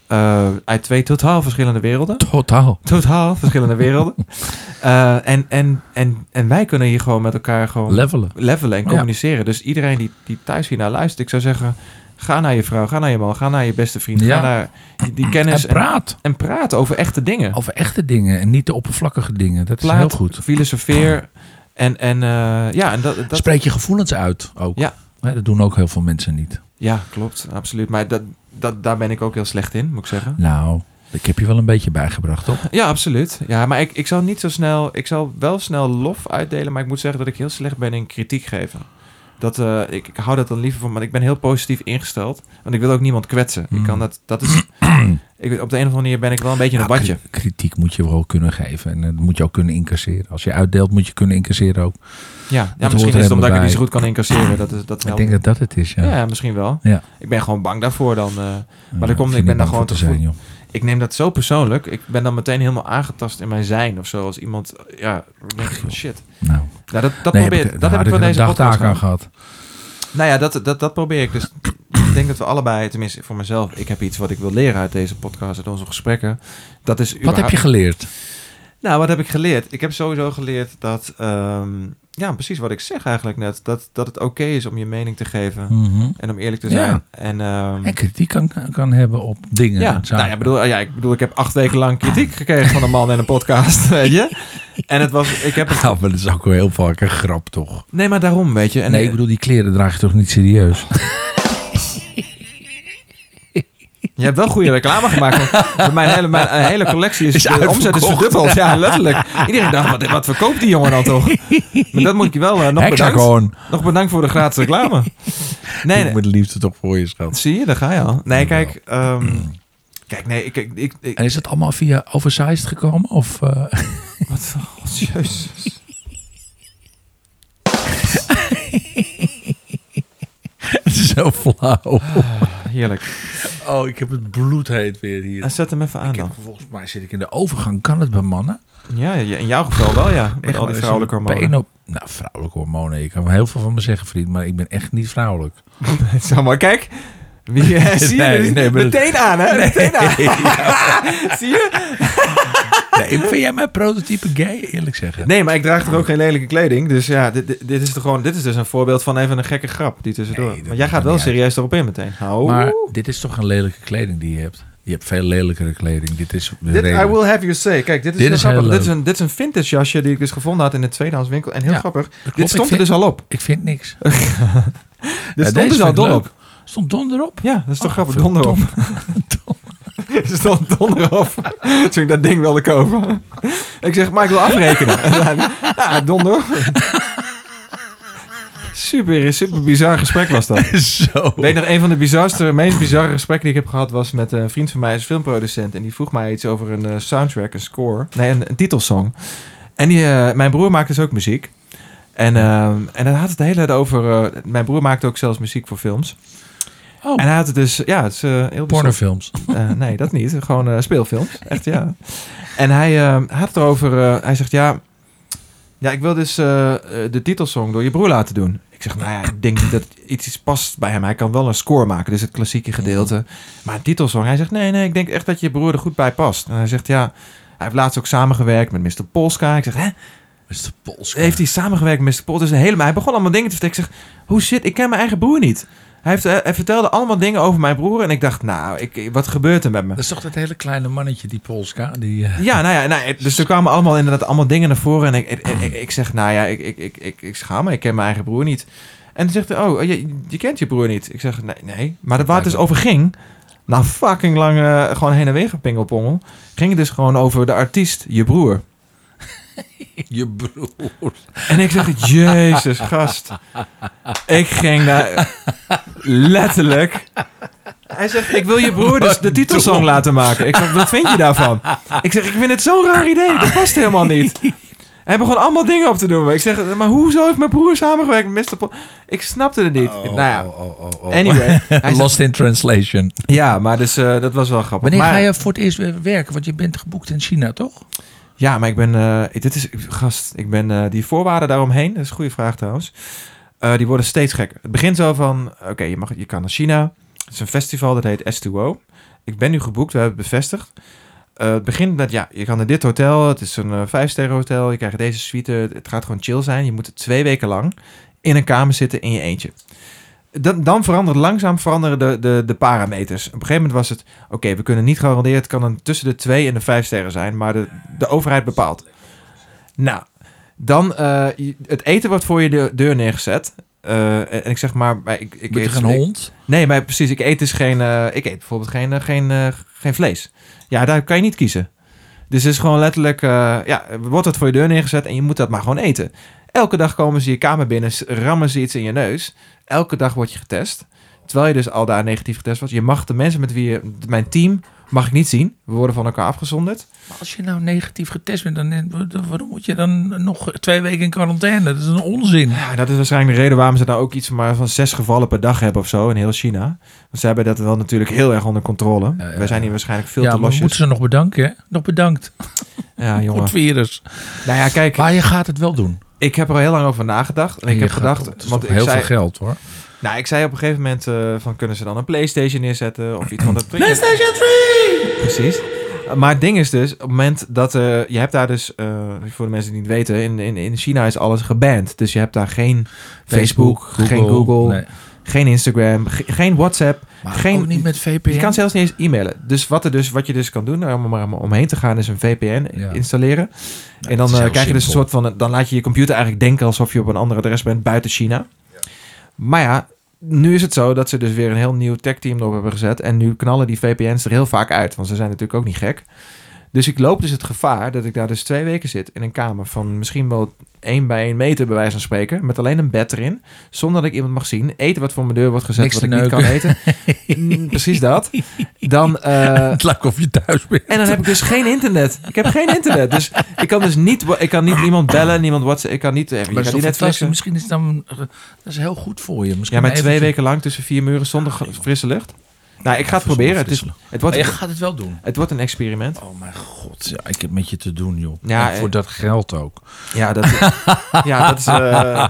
eh, uit twee totaal verschillende werelden. Totaal. Totaal verschillende <laughs> werelden. Eh, en, en, en, en wij kunnen hier gewoon met elkaar gewoon Levelen. levelen en Ja. communiceren. Dus iedereen die, die thuis hiernaar luistert, ik zou zeggen... Ga naar je vrouw, ga naar je man, ga naar je beste vriend. Ja. Ga naar die- die kennis En praat en praat over echte dingen. over echte dingen en niet de oppervlakkige dingen. Dat is Plaat, heel goed. filosofeer en, en eh, ja, en dat, dat, Spreek je gevoelens uit ook. Ja. Hè, Dat doen ook heel veel mensen niet. ja, klopt, absoluut. Maar dat, dat, daar ben ik ook heel slecht in, moet ik zeggen. Nou, ik heb je wel een beetje bijgebracht, toch? Ja, absoluut. Ja, maar ik, ik zal niet zo snel. Ik zal wel snel lof uitdelen, maar ik moet zeggen dat ik heel slecht ben in kritiek geven. Dat, eh, ik, ik hou dat dan liever van, maar ik ben heel positief ingesteld. Want ik wil ook niemand kwetsen. Ik kan dat, dat <clears throat> is, ik, weet- op de een of andere manier ben ik wel een beetje een Mm. Ja, badje. kri- Kritiek moet je wel kunnen geven. En dat moet je ook kunnen incasseren. Als je uitdeelt, moet je kunnen incasseren ook. Ja, ja hoort misschien er is het omdat ik helemaal het niet zo bij. goed kan incasseren. Dat, is, dat ik helpt. denk dat dat het is. Ja. ja. misschien wel. Ja. Ik ben gewoon bang daarvoor dan. eh, maar Ja, dan komt, hoef je ik ben niet dan bang gewoon voor te zijn, voel- joh. Ik neem dat zo persoonlijk. Ik ben dan meteen helemaal aangetast in mijn zijn of zo. Als iemand, ja, ik denk van shit. Nou, Nou, dat, dat nee, probeer heb dat ik, daar heb ik had ik van een deze podcast dagtaak aan gehad. gehad. Nou ja, dat, dat, dat probeer ik. Dus ik denk dat we allebei, tenminste voor mezelf, ik heb iets wat ik wil leren uit deze podcast, uit onze gesprekken. Dat is Wat heb je geleerd? Nou, wat heb ik geleerd? Ik heb sowieso geleerd dat, ehm, ja, precies wat ik zeg eigenlijk net, dat, dat het oké is om je mening te geven Mhm. en om eerlijk te Ja. zijn. En, ehm, En kritiek kan, kan hebben op dingen. ja, en zaken. nou ja, bedoel, ja, ik bedoel, ik heb acht weken lang kritiek gekregen van een man en een podcast, <laughs> weet je? En het was, ik heb het, <laughs> Ja, maar dat is ook wel heel vaak een grap, toch? nee, maar daarom, weet je. En nee, ik bedoel, die kleren draag je toch niet serieus? <laughs> Je hebt wel goede reclame gemaakt. want mijn, hele, mijn eh, hele collectie is, Is de omzet is uitverkocht. verdubbeld. Ja, letterlijk. Iedereen dacht, wat, wat verkoopt die jongen dan toch? Maar dat moet ik je wel eh, nog bedanken. Hexagon. Nog bedankt voor de gratis reclame. Nee, Nee, nee. Met liefde toch voor je, schat. Zie je, daar ga je al. Nee, kijk. ehm, kijk, nee, ik... ik, ik, ik- En is dat allemaal via Oversized gekomen? Of, eh, wat? God, jezus. <laughs> het is zo flauw. Ah. Heerlijk. Oh, ik heb het bloedheet weer hier. En zet hem even aan Ik dan. heb- volgens mij zit ik in de overgang. Kan het bij mannen? Ja, ja, in jouw geval wel, ja. Met al Echt waar, die is vrouwelijke een hormonen. pijn op- nou, vrouwelijke hormonen. Je kan wel heel veel van me zeggen, vriend. Maar ik ben echt niet vrouwelijk. Zeg maar, kijk. Wie, eh, zie je? Nee, Dus nee, maar dat- meteen aan, hè? Meteen <laughs> aan. zie je? Nee, ik vind jij mijn prototype gay, eerlijk zeggen? Nee, maar ik draag toch ook geen lelijke kleding. Dus ja, dit, dit, dit is toch gewoon, dit is dus een voorbeeld van even een gekke grap die tussendoor. Nee, dat maar jij gaat kan wel niet serieus erop in meteen. Hou. Maar dit is toch een lelijke kleding die je hebt? Je hebt veel lelijkere kleding. Dit is de dit, I reden. will have you say. Kijk, dit is, Dit heel is grappig. heel Dit is, leuk. een, dit is een vintage jasje die ik dus gevonden had in een tweedehands winkel. En heel Ja, grappig, klopt. dit stond Ik er dus vind- al op. Ik vind niks. Dit Ja, stond deze dus al vind ik dol leuk. op. <laughs> Stond donder op? Ja, dat is toch Oh, <laughs> grappig. Donder op. <laughs> verdomd. stond donder op. Toen ik dat ding wilde kopen. Ik zeg, maar ik wil afrekenen. <laughs> En hij, ja, donder op. Super, super bizar gesprek was dat. Zo. Ik weet nog, een van de bizarste, meest bizarre gesprekken die ik heb gehad was met een vriend van mij, is filmproducent. En die vroeg mij iets over een eh, soundtrack, een score. Nee, een, een titelsong. En die, eh, mijn broer maakt dus ook muziek. En, eh, en hij had het de hele tijd over. eh, mijn broer maakt ook zelfs muziek voor films. Oh. En hij had het dus. Ja, het is eh, heel bijzonder. <laughs> Pornofilms. Eh, nee, dat niet. Gewoon eh, speelfilms. Echt, ja. En hij eh, hij had het erover... eh, hij zegt, ja... Ja, ik wil dus eh, eh, de titelsong door je broer laten doen. Ik zeg, nou ja, ik denk niet dat iets iets past bij hem. Hij kan wel een score maken, dus het klassieke gedeelte. Maar een titelsong, hij zegt, nee, nee, ik denk echt dat je broer er goed bij past. En hij zegt, ja, hij heeft laatst ook samengewerkt met Mr. Polska. Ik zeg, hè, Is de pols. heeft hij samengewerkt met Mr. Polska? Dus helemaal, hij begon allemaal dingen te vertellen. Ik zeg, hoe zit, ik ken mijn eigen broer niet. Hij, heeft, eh, hij vertelde allemaal dingen over mijn broer. En ik dacht, nou, ik, wat gebeurt er met me? Dat is toch dat hele kleine mannetje, die Polska? <laughs> Die, eh, Ja, nou ja, nou, het- dus er kwamen allemaal inderdaad allemaal dingen naar voren. En ik, ik, ik, ik zeg, nou ja, ik, ik, ik, ik, ik schaam me, ik ken mijn eigen broer niet. En toen zegt hij, oh, je, je kent je broer niet. Ik zeg, nee, nee. Maar waar het dus over ging, nou fucking lang eh, gewoon heen en weer gepingelpongel, ging het dus gewoon over de artiest, je broer. Je broer. En ik zeg, jezus, gast. Ik ging daar letterlijk... Hij zegt, ik wil je broer dus de titelsong laten maken. Ik zeg, wat vind je daarvan? Ik zeg, ik vind het zo'n raar idee. Dat past helemaal niet. Hij begon allemaal dingen op te doen. Ik zeg, maar hoezo heeft mijn broer samengewerkt met Mr. Pol? Ik snapte het niet. Oh. nou ja, anyway. <laughs> Hij zegt, Lost in translation. ja, maar dus, eh, dat was wel grappig. Wanneer maar, ga je voor het eerst weer werken? Want je bent geboekt in China, toch? Ja, maar ik ben... eh, dit is, gast, ik ben eh, die voorwaarden daaromheen. Dat is een goede vraag trouwens. eh, die worden steeds gekker. Het begint zo van, oké, je, mag- je kan naar China. Het is een festival, dat heet S2O. Ik ben nu geboekt, we hebben het bevestigd. Eh, het begint met, ja, je kan naar dit hotel. Het is een eh, vijfsterren hotel. Je krijgt deze suite. Het, het gaat gewoon chill zijn. Je moet twee weken lang in een kamer zitten in je eentje. Dan, dan verandert langzaam veranderen de, de, de parameters. Op een gegeven moment was het, oké, we kunnen niet garanderen. Het kan een, tussen de twee en de vijf sterren zijn, maar de, de overheid bepaalt. Nou, dan eh, je- het eten wordt voor je de, deur neergezet. Eh, en ik zeg maar, maar ik, ik Met eet een ik- hond? Nee, maar precies. Ik eet dus geen. eh, ik eet bijvoorbeeld geen, eh, geen, eh, geen vlees. Ja, daar kan je niet kiezen. Dus het is gewoon letterlijk. eh, ja, wordt het voor je deur neergezet en je moet dat maar gewoon eten. Elke dag komen ze je kamer binnen, s- rammen ze iets in je neus. Elke dag word je getest. Terwijl je dus al daar negatief getest was. Je mag de mensen met wie je. Mijn team mag ik niet zien. We worden van elkaar afgezonderd. Maar als je nou negatief getest bent, dan, dan- waarom moet je dan nog twee weken in quarantaine? Dat is een onzin. Ja, dat is waarschijnlijk de reden waarom ze nou ook iets maar van zes gevallen per dag hebben of zo in heel China. Want ze hebben dat wel natuurlijk heel erg onder controle. ja, Wij zijn hier waarschijnlijk veel Ja, te maar we moeten losjes. ze nog bedanken, hè? Nog bedankt Ja, voor dus. jongen. het virus. Nou ja, kijk. Maar je gaat het wel doen. Ik heb er heel lang over nagedacht. En ik Je heb gaat- dat gedacht, is want toch ik heel zei, veel geld, hoor. nou, ik zei op een gegeven moment eh, van kunnen ze dan een PlayStation neerzetten of iets van dat. PlayStation 3! Precies. Eh, Maar het ding is dus, op het moment dat eh, je hebt daar dus, eh, voor de mensen die het niet weten, in, in, in China is alles geband. Dus je hebt daar geen Facebook, geen Google, nee. geen Instagram, ge- geen WhatsApp. Maar geen- ook niet met VPN. Je kan zelfs niet eens e-mailen. Dus wat, er dus wat je dus kan doen, om er maar omheen te gaan, is een VPN Ja. installeren. en dat dan is eh, heel krijg je dus een simpel. soort van, dan laat je je computer eigenlijk denken alsof je op een ander adres bent buiten China. Maar ja, nu is het zo dat ze dus weer een heel nieuw tech team erop hebben gezet. En nu knallen die VPN's er heel vaak uit, want ze zijn natuurlijk ook niet gek. Dus ik loop dus het gevaar dat ik daar dus twee weken zit in een kamer van misschien wel één bij één meter bij wijze van spreken. Met alleen een bed erin. Zonder dat ik iemand mag zien. Eten wat voor mijn deur wordt gezet Niks wat ik te niet kan <laughs> eten. Mm, Precies dat. Dan, eh, <laughs> Het lijkt of je thuis bent. en dan heb ik dus geen internet. Ik heb geen internet. Dus ik kan dus niet, ik kan niet iemand bellen, niemand WhatsApp. Ik kan niet, ik Maar kan dat is niet toch fantastisch. Netflixen. Misschien is het dan... eh, Dat is heel goed voor je. Misschien Ja, maar even- twee weken lang tussen vier muren zonder Ah, ge- frisse lucht. Nou, ik ga het proberen. Het, is, het, Maar je wordt, gaat het wel doen. het wordt een experiment. Ah, Oh mijn god, ja, ik heb met je te doen, joh. Ja, en voor eh, dat geld ook. Ja, dat, ja, dat is... <laughs> eh,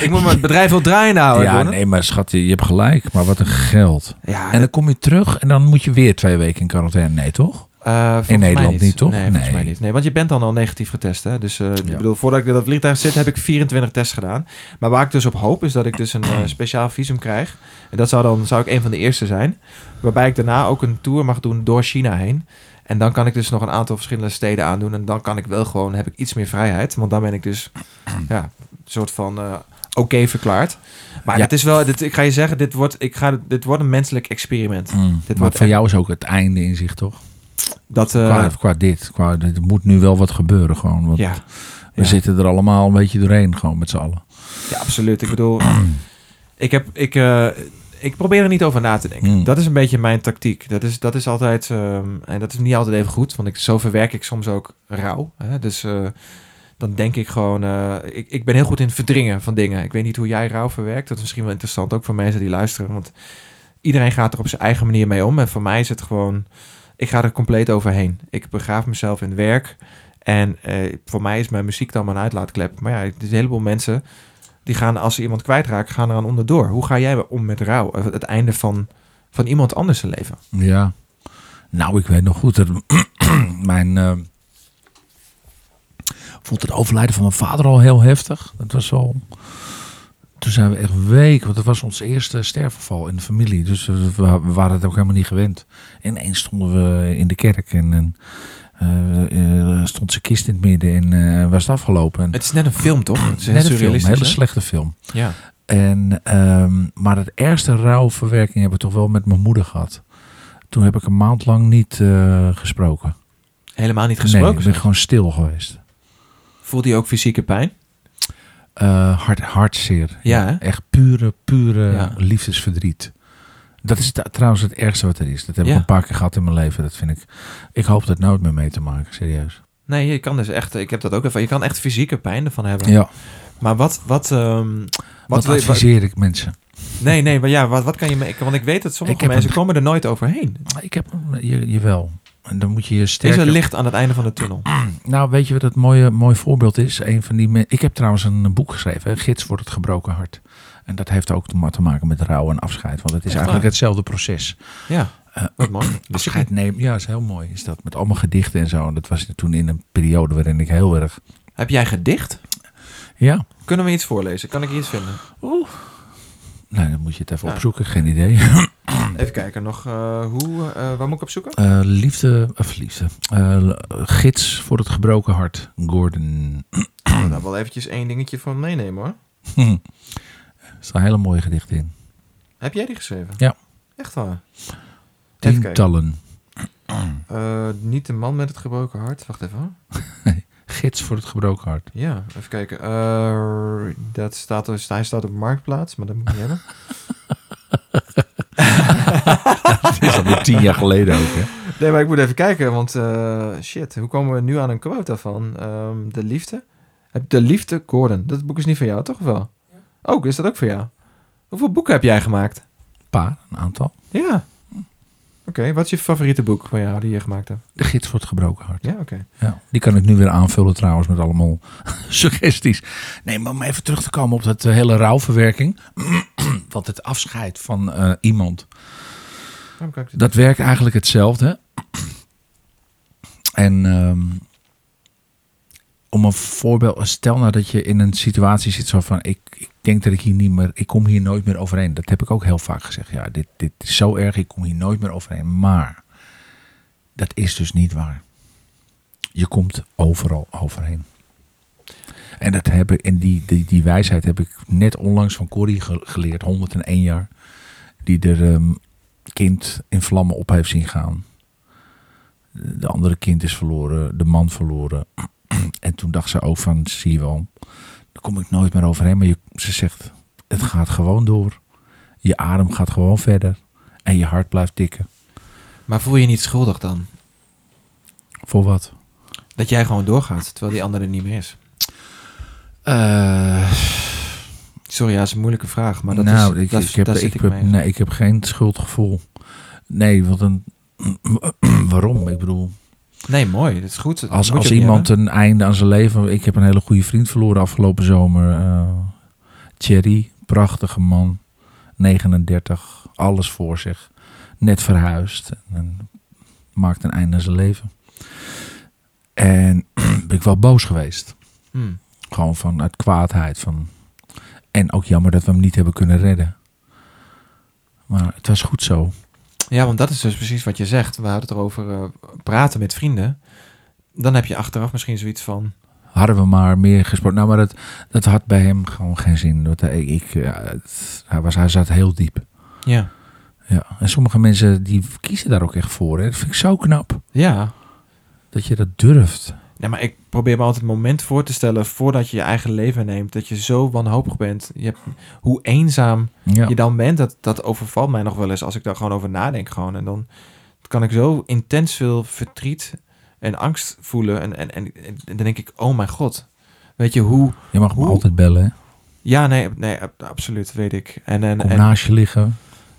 ik moet mijn bedrijf wel draaien houden. ja, Doornen. nee, maar schat, je je hebt gelijk. Maar wat een geld. Ja, En dan kom je terug en dan moet je weer twee weken in quarantaine. Nee, toch? eh, volgens in mij Nederland niet, toch? Nee, volgens Nee. mij niet. Nee, want je bent dan al negatief getest, hè? Dus eh, Ja. ik bedoel, voordat ik in dat vliegtuig zit, heb ik 24 tests gedaan. Maar waar ik dus op hoop, is dat ik dus een <clears throat> eh, speciaal visum krijg. En dat zou dan, zou ik een van de eerste zijn. Waarbij ik daarna ook een tour mag doen door China heen. En dan kan ik dus nog een aantal verschillende steden <clears throat> aandoen. En dan kan ik wel gewoon, heb ik iets meer vrijheid. Want dan ben ik dus, ja, een soort van... eh, oké verklaard. Maar Ja. het is wel, dit, ik ga je zeggen, dit wordt, ik ga, dit wordt een menselijk experiment. Dit Dit Mm. maar wordt voor echt- jou is ook het einde in zich, toch? Dat, eh, qua, qua dit. Qua, er moet nu wel wat gebeuren gewoon. Want ja, we ja. zitten er allemaal een beetje doorheen gewoon met z'n allen. ja, absoluut. Ik bedoel, ik, heb, ik, eh, ik probeer er niet over na te denken. Mm. Dat is een beetje mijn tactiek. Dat is, dat is altijd, ehm, en dat is niet altijd even goed, want ik, zo verwerk ik soms ook rauw. Hè? Dus eh, dan denk ik gewoon, eh, ik, ik ben heel goed in het verdringen van dingen. Ik weet niet hoe jij rauw verwerkt. Dat is misschien wel interessant ook voor mensen die luisteren, want iedereen gaat er op zijn eigen manier mee om. En voor mij is het gewoon, ik ga er compleet overheen. Ik begraaf mezelf in werk. En eh, voor mij is mijn muziek dan mijn uitlaatklep. Maar ja, er is een heleboel mensen die gaan, als ze iemand kwijtraken, gaan eraan onderdoor. Hoe ga jij om met rouw? Eh, Het einde van, van iemand anders zijn leven. Ja. Nou, ik weet nog goed. Dat <clears throat> mijn... eh vond het overlijden van mijn vader al heel heftig. Dat was al... Toen zijn we echt week, want het was ons eerste sterfgeval in de familie. Dus we, we waren het ook helemaal niet gewend. En eens stonden we in de kerk en, en eh, eh, stond zijn kist in het midden en eh, was het afgelopen. En, Het is net een film, toch? Het is net een film, een hele hè? slechte film. Ja. En, ehm, maar het ergste rouwverwerking heb ik toch wel met mijn moeder gehad. Toen heb ik een maand lang niet eh, gesproken. Helemaal niet Nee, gesproken. ik ben gewoon stil geweest. Voelde je ook fysieke pijn? Eh hart, hartzeer. Ja, hè? Echt pure, pure Ja. liefdesverdriet. Dat is da- trouwens het ergste wat er is. Dat heb ik Ja. een paar keer gehad in mijn leven. Dat vind ik. Ik hoop dat nooit meer mee te maken, serieus. Nee, je kan dus echt, ik heb dat ook even, je kan echt fysieke pijn ervan hebben. Ja. Maar wat, wat, ehm, Wat, wil je- adviseer ik mensen? nee, nee, maar ja, wat, wat kan je, me- ik- want ik weet dat sommige Ik heb mensen een- komen er nooit overheen. Ik heb je, jawel. En dan moet je je Er is sterke een licht aan het einde van de tunnel. Nou, weet je wat het mooie, mooi voorbeeld is? Een van die men- ik heb trouwens een boek geschreven, hè, Gids voor het gebroken hart. En dat heeft ook te ma- te maken met rouw en afscheid. Want het is Echt eigenlijk waar? hetzelfde proces. Ja, Eh, wat <coughs> mooi. Afscheid nemen, ja, is heel mooi. Is dat met allemaal gedichten en zo. En dat was toen in een periode waarin ik heel erg. Heb jij gedicht? Ja, Kunnen we iets voorlezen? Kan ik iets vinden? nou, dan moet je het even Ja. opzoeken, geen idee. <laughs> Even kijken nog, eh, hoe, eh, waar moet ik op zoeken? Eh, liefde, of liefde. Eh, gids voor het gebroken hart, Gordon. <laughs> Ik wil daar Nou, wel eventjes één dingetje van meenemen hoor. Er staat een hele mooie gedicht in. Heb jij die geschreven? Ja. Echt waar? Even kijken. Tientallen. Eh, niet de man met het gebroken hart. Wacht even hoor. Gids voor het gebroken hart. <laughs> Ja, even kijken. Eh, dat staat, er- hij staat op Marktplaats, maar dat moet ik niet hebben. Dat is alweer tien jaar geleden ook, hè? Nee, maar ik moet even kijken, want eh, shit, hoe komen we nu aan een quota van? Ehm, de liefde? Heb- De liefde, Gordon. Dat boek is niet van jou, toch of wel? Ook, is dat ook van jou? Hoeveel boeken heb jij gemaakt? paar, een aantal. Ja. Oké, wat is je favoriete boek van jou die je gemaakt hebt? De gids voor het gebroken hart. Ja, oké. Ja. Die kan ik nu weer aanvullen trouwens met allemaal <laughs> suggesties. Nee, maar om even terug te komen op dat eh, hele rouwverwerking. <clears throat> Want het afscheid van eh, iemand, Waarom kan ik dit- dat werkt eigenlijk hetzelfde. En ehm, om een voorbeeld, stel nou dat je in een situatie zit zo van, ik, ik denk dat ik hier niet meer, ik kom hier nooit meer overheen. Dat heb ik ook heel vaak gezegd. Ja, dit, dit is zo erg, ik kom hier nooit meer overheen. Maar dat is dus niet waar. Je komt overal overheen. En, dat heb ik, en die, die, die wijsheid heb ik net onlangs van Corrie ge- geleerd, 101 jaar. Die er ehm, kind in vlammen op heeft zien gaan. De andere kind is verloren, de man verloren. <clears throat> En toen dacht ze ook van, zie je wel, daar kom ik nooit meer overheen. Maar je, ze zegt, het gaat gewoon door. Je adem gaat gewoon verder. En je hart blijft tikken. Maar voel je je niet schuldig dan? Voor wat? Dat jij gewoon doorgaat, terwijl die andere er niet meer is. Sorry, ja, dat is een moeilijke vraag, maar dat Eh. nou, is, ik, dat, ik heb, daar zit ik, ik, heb, mee. nee, ik heb geen schuldgevoel. Nee, want een, <clears throat> waarom? Ik bedoel, Nee, mooi, dat is goed. Dat Als, moet je als ook niet iemand een einde aan zijn leven. Ik heb een hele goede vriend verloren afgelopen zomer. eh Thierry, prachtige man. 39, alles voor zich. Net verhuisd. En maakt een einde aan zijn leven. En <clears throat> ben ik wel boos geweest. hebben. Hmm. Gewoon van uit kwaadheid. Van... En ook jammer dat we hem niet hebben kunnen redden. Maar het was goed zo. Ja, want dat is dus precies wat je zegt. We hadden het erover eh, praten met vrienden. Dan heb je achteraf misschien zoiets van... hadden we maar meer gesproken. Nou, maar dat, dat had bij hem gewoon geen zin. Want hij, ik, ja, het- hij, was, hij zat heel diep. Ja. Ja. En sommige mensen die kiezen daar ook echt voor. Hè. Dat vind ik zo knap. Ja. Dat je dat durft. Nee, maar ik probeer me altijd een moment voor te stellen voordat je je eigen leven neemt. Dat je zo wanhopig bent. Je hebt, hoe eenzaam Ja. je dan bent, dat, dat overvalt mij nog wel eens als ik daar gewoon over nadenk. Gewoon. En dan kan ik zo intens veel verdriet en angst voelen. En, en, en, en dan denk ik, oh mijn god. Weet je hoe... Je mag me Hoe? altijd bellen. Hè. Ja, nee, nee ab- absoluut, weet ik. En, en, Kom en naast je liggen.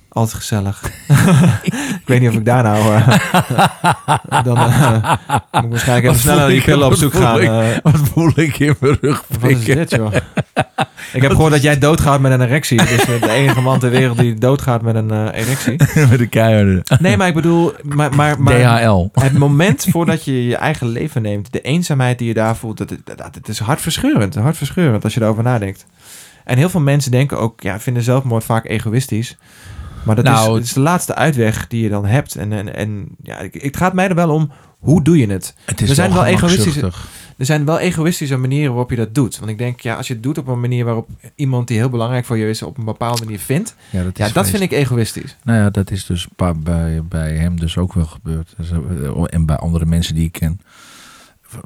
altijd gezellig. <laughs> ik weet niet of ik daar nou... eh, <laughs> dan eh, moet ik waarschijnlijk even Wat sneller voel die ik, pillen op wat zoek voel gaan. ik? eh. <laughs> Wat voel ik in mijn rug Wat is dit, joh? Ik heb gehoord dat jij doodgaat met een erectie. Dus de enige man ter wereld die doodgaat met een eh, erectie. <laughs> Met de <laughs> keiharde. Nee, maar ik bedoel... Maar, maar, maar DHL. het moment voordat je je eigen leven neemt... de eenzaamheid die je daar voelt... dat, dat, dat- het is hartverscheurend. Hartverscheurend als je daarover nadenkt. En heel veel mensen denken ook... ja, vinden zelfmoord vaak egoïstisch. Maar dat Nou, is, het is de laatste uitweg die je dan hebt. En, en, en ja, ik- het gaat mij er wel om... hoe doe je het? Het is We zijn wel gemakzuchtig. Er zijn wel egoïstische manieren waarop je dat doet. Want ik denk, ja, als je het doet op een manier waarop iemand die heel belangrijk voor je is, op een bepaalde manier vindt. Ja, dat, Ja, is dat vind ik egoïstisch. Nou ja, dat is dus pa- bij, bij hem dus ook wel gebeurd. Dus, eh, En bij andere mensen die ik ken.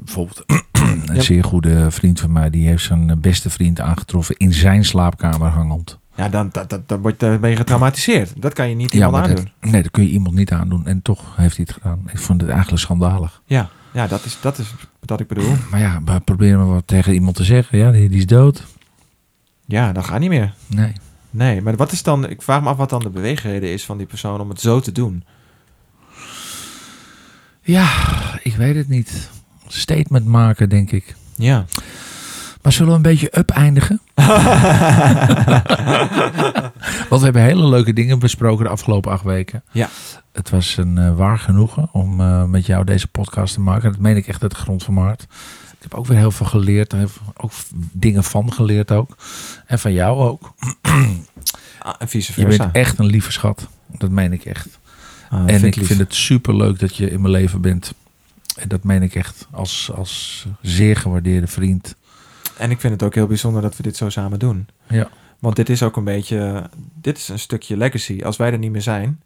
Bijvoorbeeld <clears throat> een Ja. zeer goede vriend van mij. Die heeft zijn eh, beste vriend aangetroffen in zijn slaapkamer hangend. Ja, dan, dat, dat, dan, word, je- dan ben je getraumatiseerd. Dat kan je niet Ja, iemand maar dat, aandoen. nee, dat kun je iemand niet aandoen. En toch heeft hij het gedaan. Ik vond het eigenlijk schandalig. Ja, ja dat, is, dat is wat ik bedoel. Maar ja, maar probeer maar wat tegen iemand te zeggen. Ja, die, die is dood. Ja, dat gaat niet meer. Nee. Nee, maar wat is dan, ik vraag me af wat dan de beweegreden is van die persoon om het zo te doen. Ja, ik weet het niet. Statement maken, denk ik. Ja. Maar zullen we een beetje up <laughs> eindigen? Want we hebben hele leuke dingen besproken de afgelopen acht weken. Ja. Het was een eh, waar genoegen om eh, met jou deze podcast te maken. Dat meen ik echt uit de grond van mijn hart. Ik heb ook weer heel veel geleerd. Daar heb ik ook dingen van geleerd ook. En van jou ook. Ah, En vice Je versa. bent echt een lieve schat. Dat meen ik echt. Ah, en ik lief. Nou, vind het super leuk dat je in mijn leven bent. En dat meen ik echt als, als zeer gewaardeerde vriend. En ik vind het ook heel bijzonder dat we dit zo samen doen. Ja. Want dit is ook een beetje, dit is een stukje legacy. Als wij er niet meer zijn,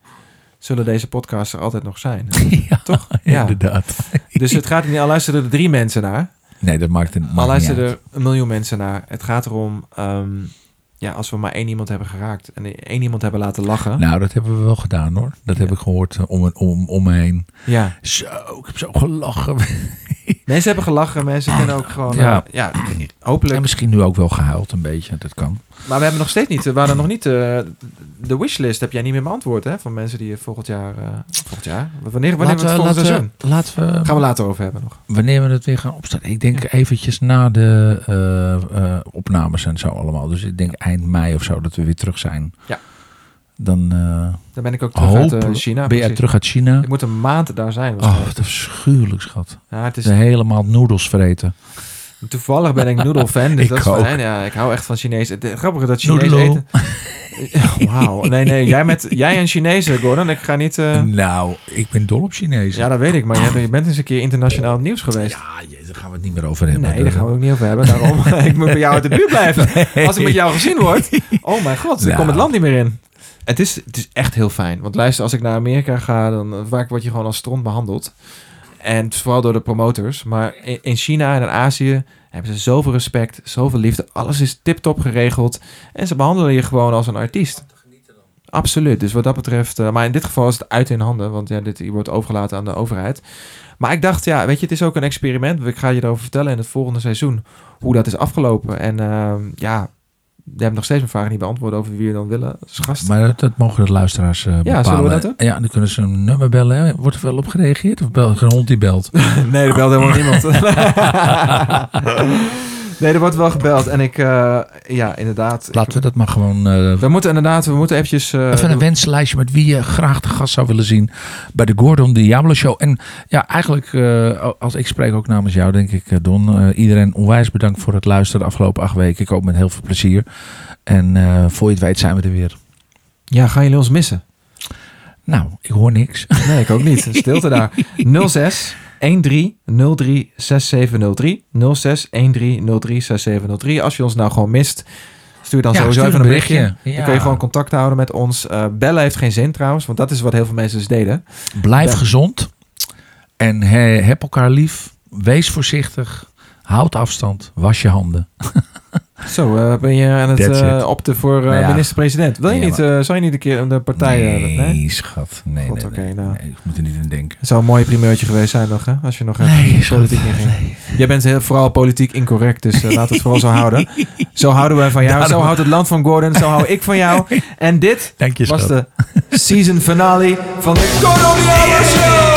zullen deze podcasts er altijd nog <laughs> zijn. <laughs> ja, Toch? Ja. ja, inderdaad. Dus het gaat er niet, al luisteren er drie mensen naar, Nee, dat maakt, het, al maakt niet luisteren uit. er een miljoen mensen naar. Het gaat erom, ehm, ja, als we maar één iemand hebben geraakt en één iemand hebben laten lachen. Nou, dat hebben we wel gedaan hoor. Dat heb ik gehoord eh, om, en- om, om me heen. Ja, Zo, ik heb zo gelachen. mensen hebben gelachen, mensen kunnen ook gewoon, ja, Ja. ja En hopelijk. misschien nu ook wel gehuild een beetje. Dat kan. Maar we hebben nog steeds niet, we hadden nog niet, eh, de wishlist heb jij niet meer beantwoord hè, van mensen die je volgend jaar, eh, volgend jaar, wanneer, wanneer we het volgend laten, seizoen? we, laten we- Gaan we later over hebben nog. wanneer we het weer gaan opstarten. Ik denk eventjes na de eh, eh, opnames en zo allemaal. Dus ik denk eind mei of zo dat we weer terug zijn. Ja. Dan eh, Dan ben ik ook terug hoop, uit eh, China. ben jij precies. terug Oh. uit China. Ik moet een maand daar zijn. Oh, waarschijnlijk. wat afschuwelijk schat. ja, het is, De helemaal noedels vreten. toevallig ben ik noodle fan. Dus <laughs> Ik dat is fijn. ook. Ja, ik hou echt van Chinees. Het grappige dat Chinees Noedel. eten... <laughs> Wauw. Nee, nee. Jij, met, jij en Chinezen, Gordon. Ik ga niet... eh, Nou, ik ben dol op Chinezen. Ja, dat weet ik. Maar jij, je bent eens een keer internationaal op nieuws geweest. Ja, je- daar gaan we het niet meer over hebben. Nee, daar gaan we het ook niet over hebben. Daarom, <laughs> ik moet bij jou uit de buurt <laughs> blijven. <laughs> Als ik met jou gezien word. Oh mijn god, ik Nou. kom het land niet meer in. Het is, het is echt heel fijn. Want luister, als ik naar Amerika ga, dan eh, vaak word je gewoon als stront behandeld. En het is vooral door de promotors. Maar in, in China en in Azië hebben ze zoveel respect, zoveel liefde. Alles is tip-top geregeld. En ze behandelen je gewoon als een artiest. Absoluut. Dus wat dat betreft. eh, maar in dit geval is het uit in handen. Want ja, dit hier wordt overgelaten aan de overheid. Maar ik dacht, ja, weet je, het is ook een experiment. Ik ga je erover vertellen in het volgende seizoen. Hoe dat is afgelopen. En eh, ja, we hebben nog steeds mijn vraag niet beantwoord over wie we dan willen als gast. Maar dat, dat mogen de luisteraars eh bepalen. zullen we dat doen? Ja, dan kunnen ze een nummer bellen. hè. Wordt er wel op gereageerd? Of bel, een hond die <laughs> belt? Nee, er belt <laughs> helemaal niemand. nee, er wordt wel gebeld. En ik, eh, ja, inderdaad. Laten we dat maar gewoon... eh, We moeten inderdaad, we moeten eventjes... eh, even een wensenlijstje met wie je graag te gast zou willen zien. Bij de Gordon Diablo Show. En ja, eigenlijk, eh, als ik spreek ook namens jou, denk ik, eh, Don. eh, iedereen onwijs bedankt voor het luisteren de afgelopen acht weken. Ik hoop met heel veel plezier. En eh, voor je het weet zijn we er weer. Ja, gaan jullie ons missen? Nou, ik hoor niks. <laughs> Nee, ik ook niet. Stilte daar. 06 6703 0613036703. Als je ons nou gewoon mist, stuur dan Ja, sowieso stuur even een berichtje. Ja. Dan kun je gewoon contact houden met ons. Eh, bellen heeft geen zin trouwens, want dat is wat heel veel mensen dus deden. Blijf Ja. gezond. En he- heb elkaar lief. Wees voorzichtig. Houd afstand. Was je handen. Zo, eh, ben je aan het That's eh, it. opten voor eh, Nou ja. minister-president. Wil je Ja, niet, eh, zou je niet een keer de partij... eh, nee, dat- schat. Nee, God, nee, oké, nee, nou. nee. Ik moet er niet aan denken. Het zou een mooi primeurtje geweest zijn nog, hè? Als je nog even Nee, de schat. politiek inging. Jij bent heel, vooral politiek incorrect, dus laten laat het vooral zo houden. Zo houden wij van jou, zo Daarom. houdt het land van Gordon, zo hou ik van <laughs> jou. En dit Dank je, was schat. de season finale van de Coloniale Show!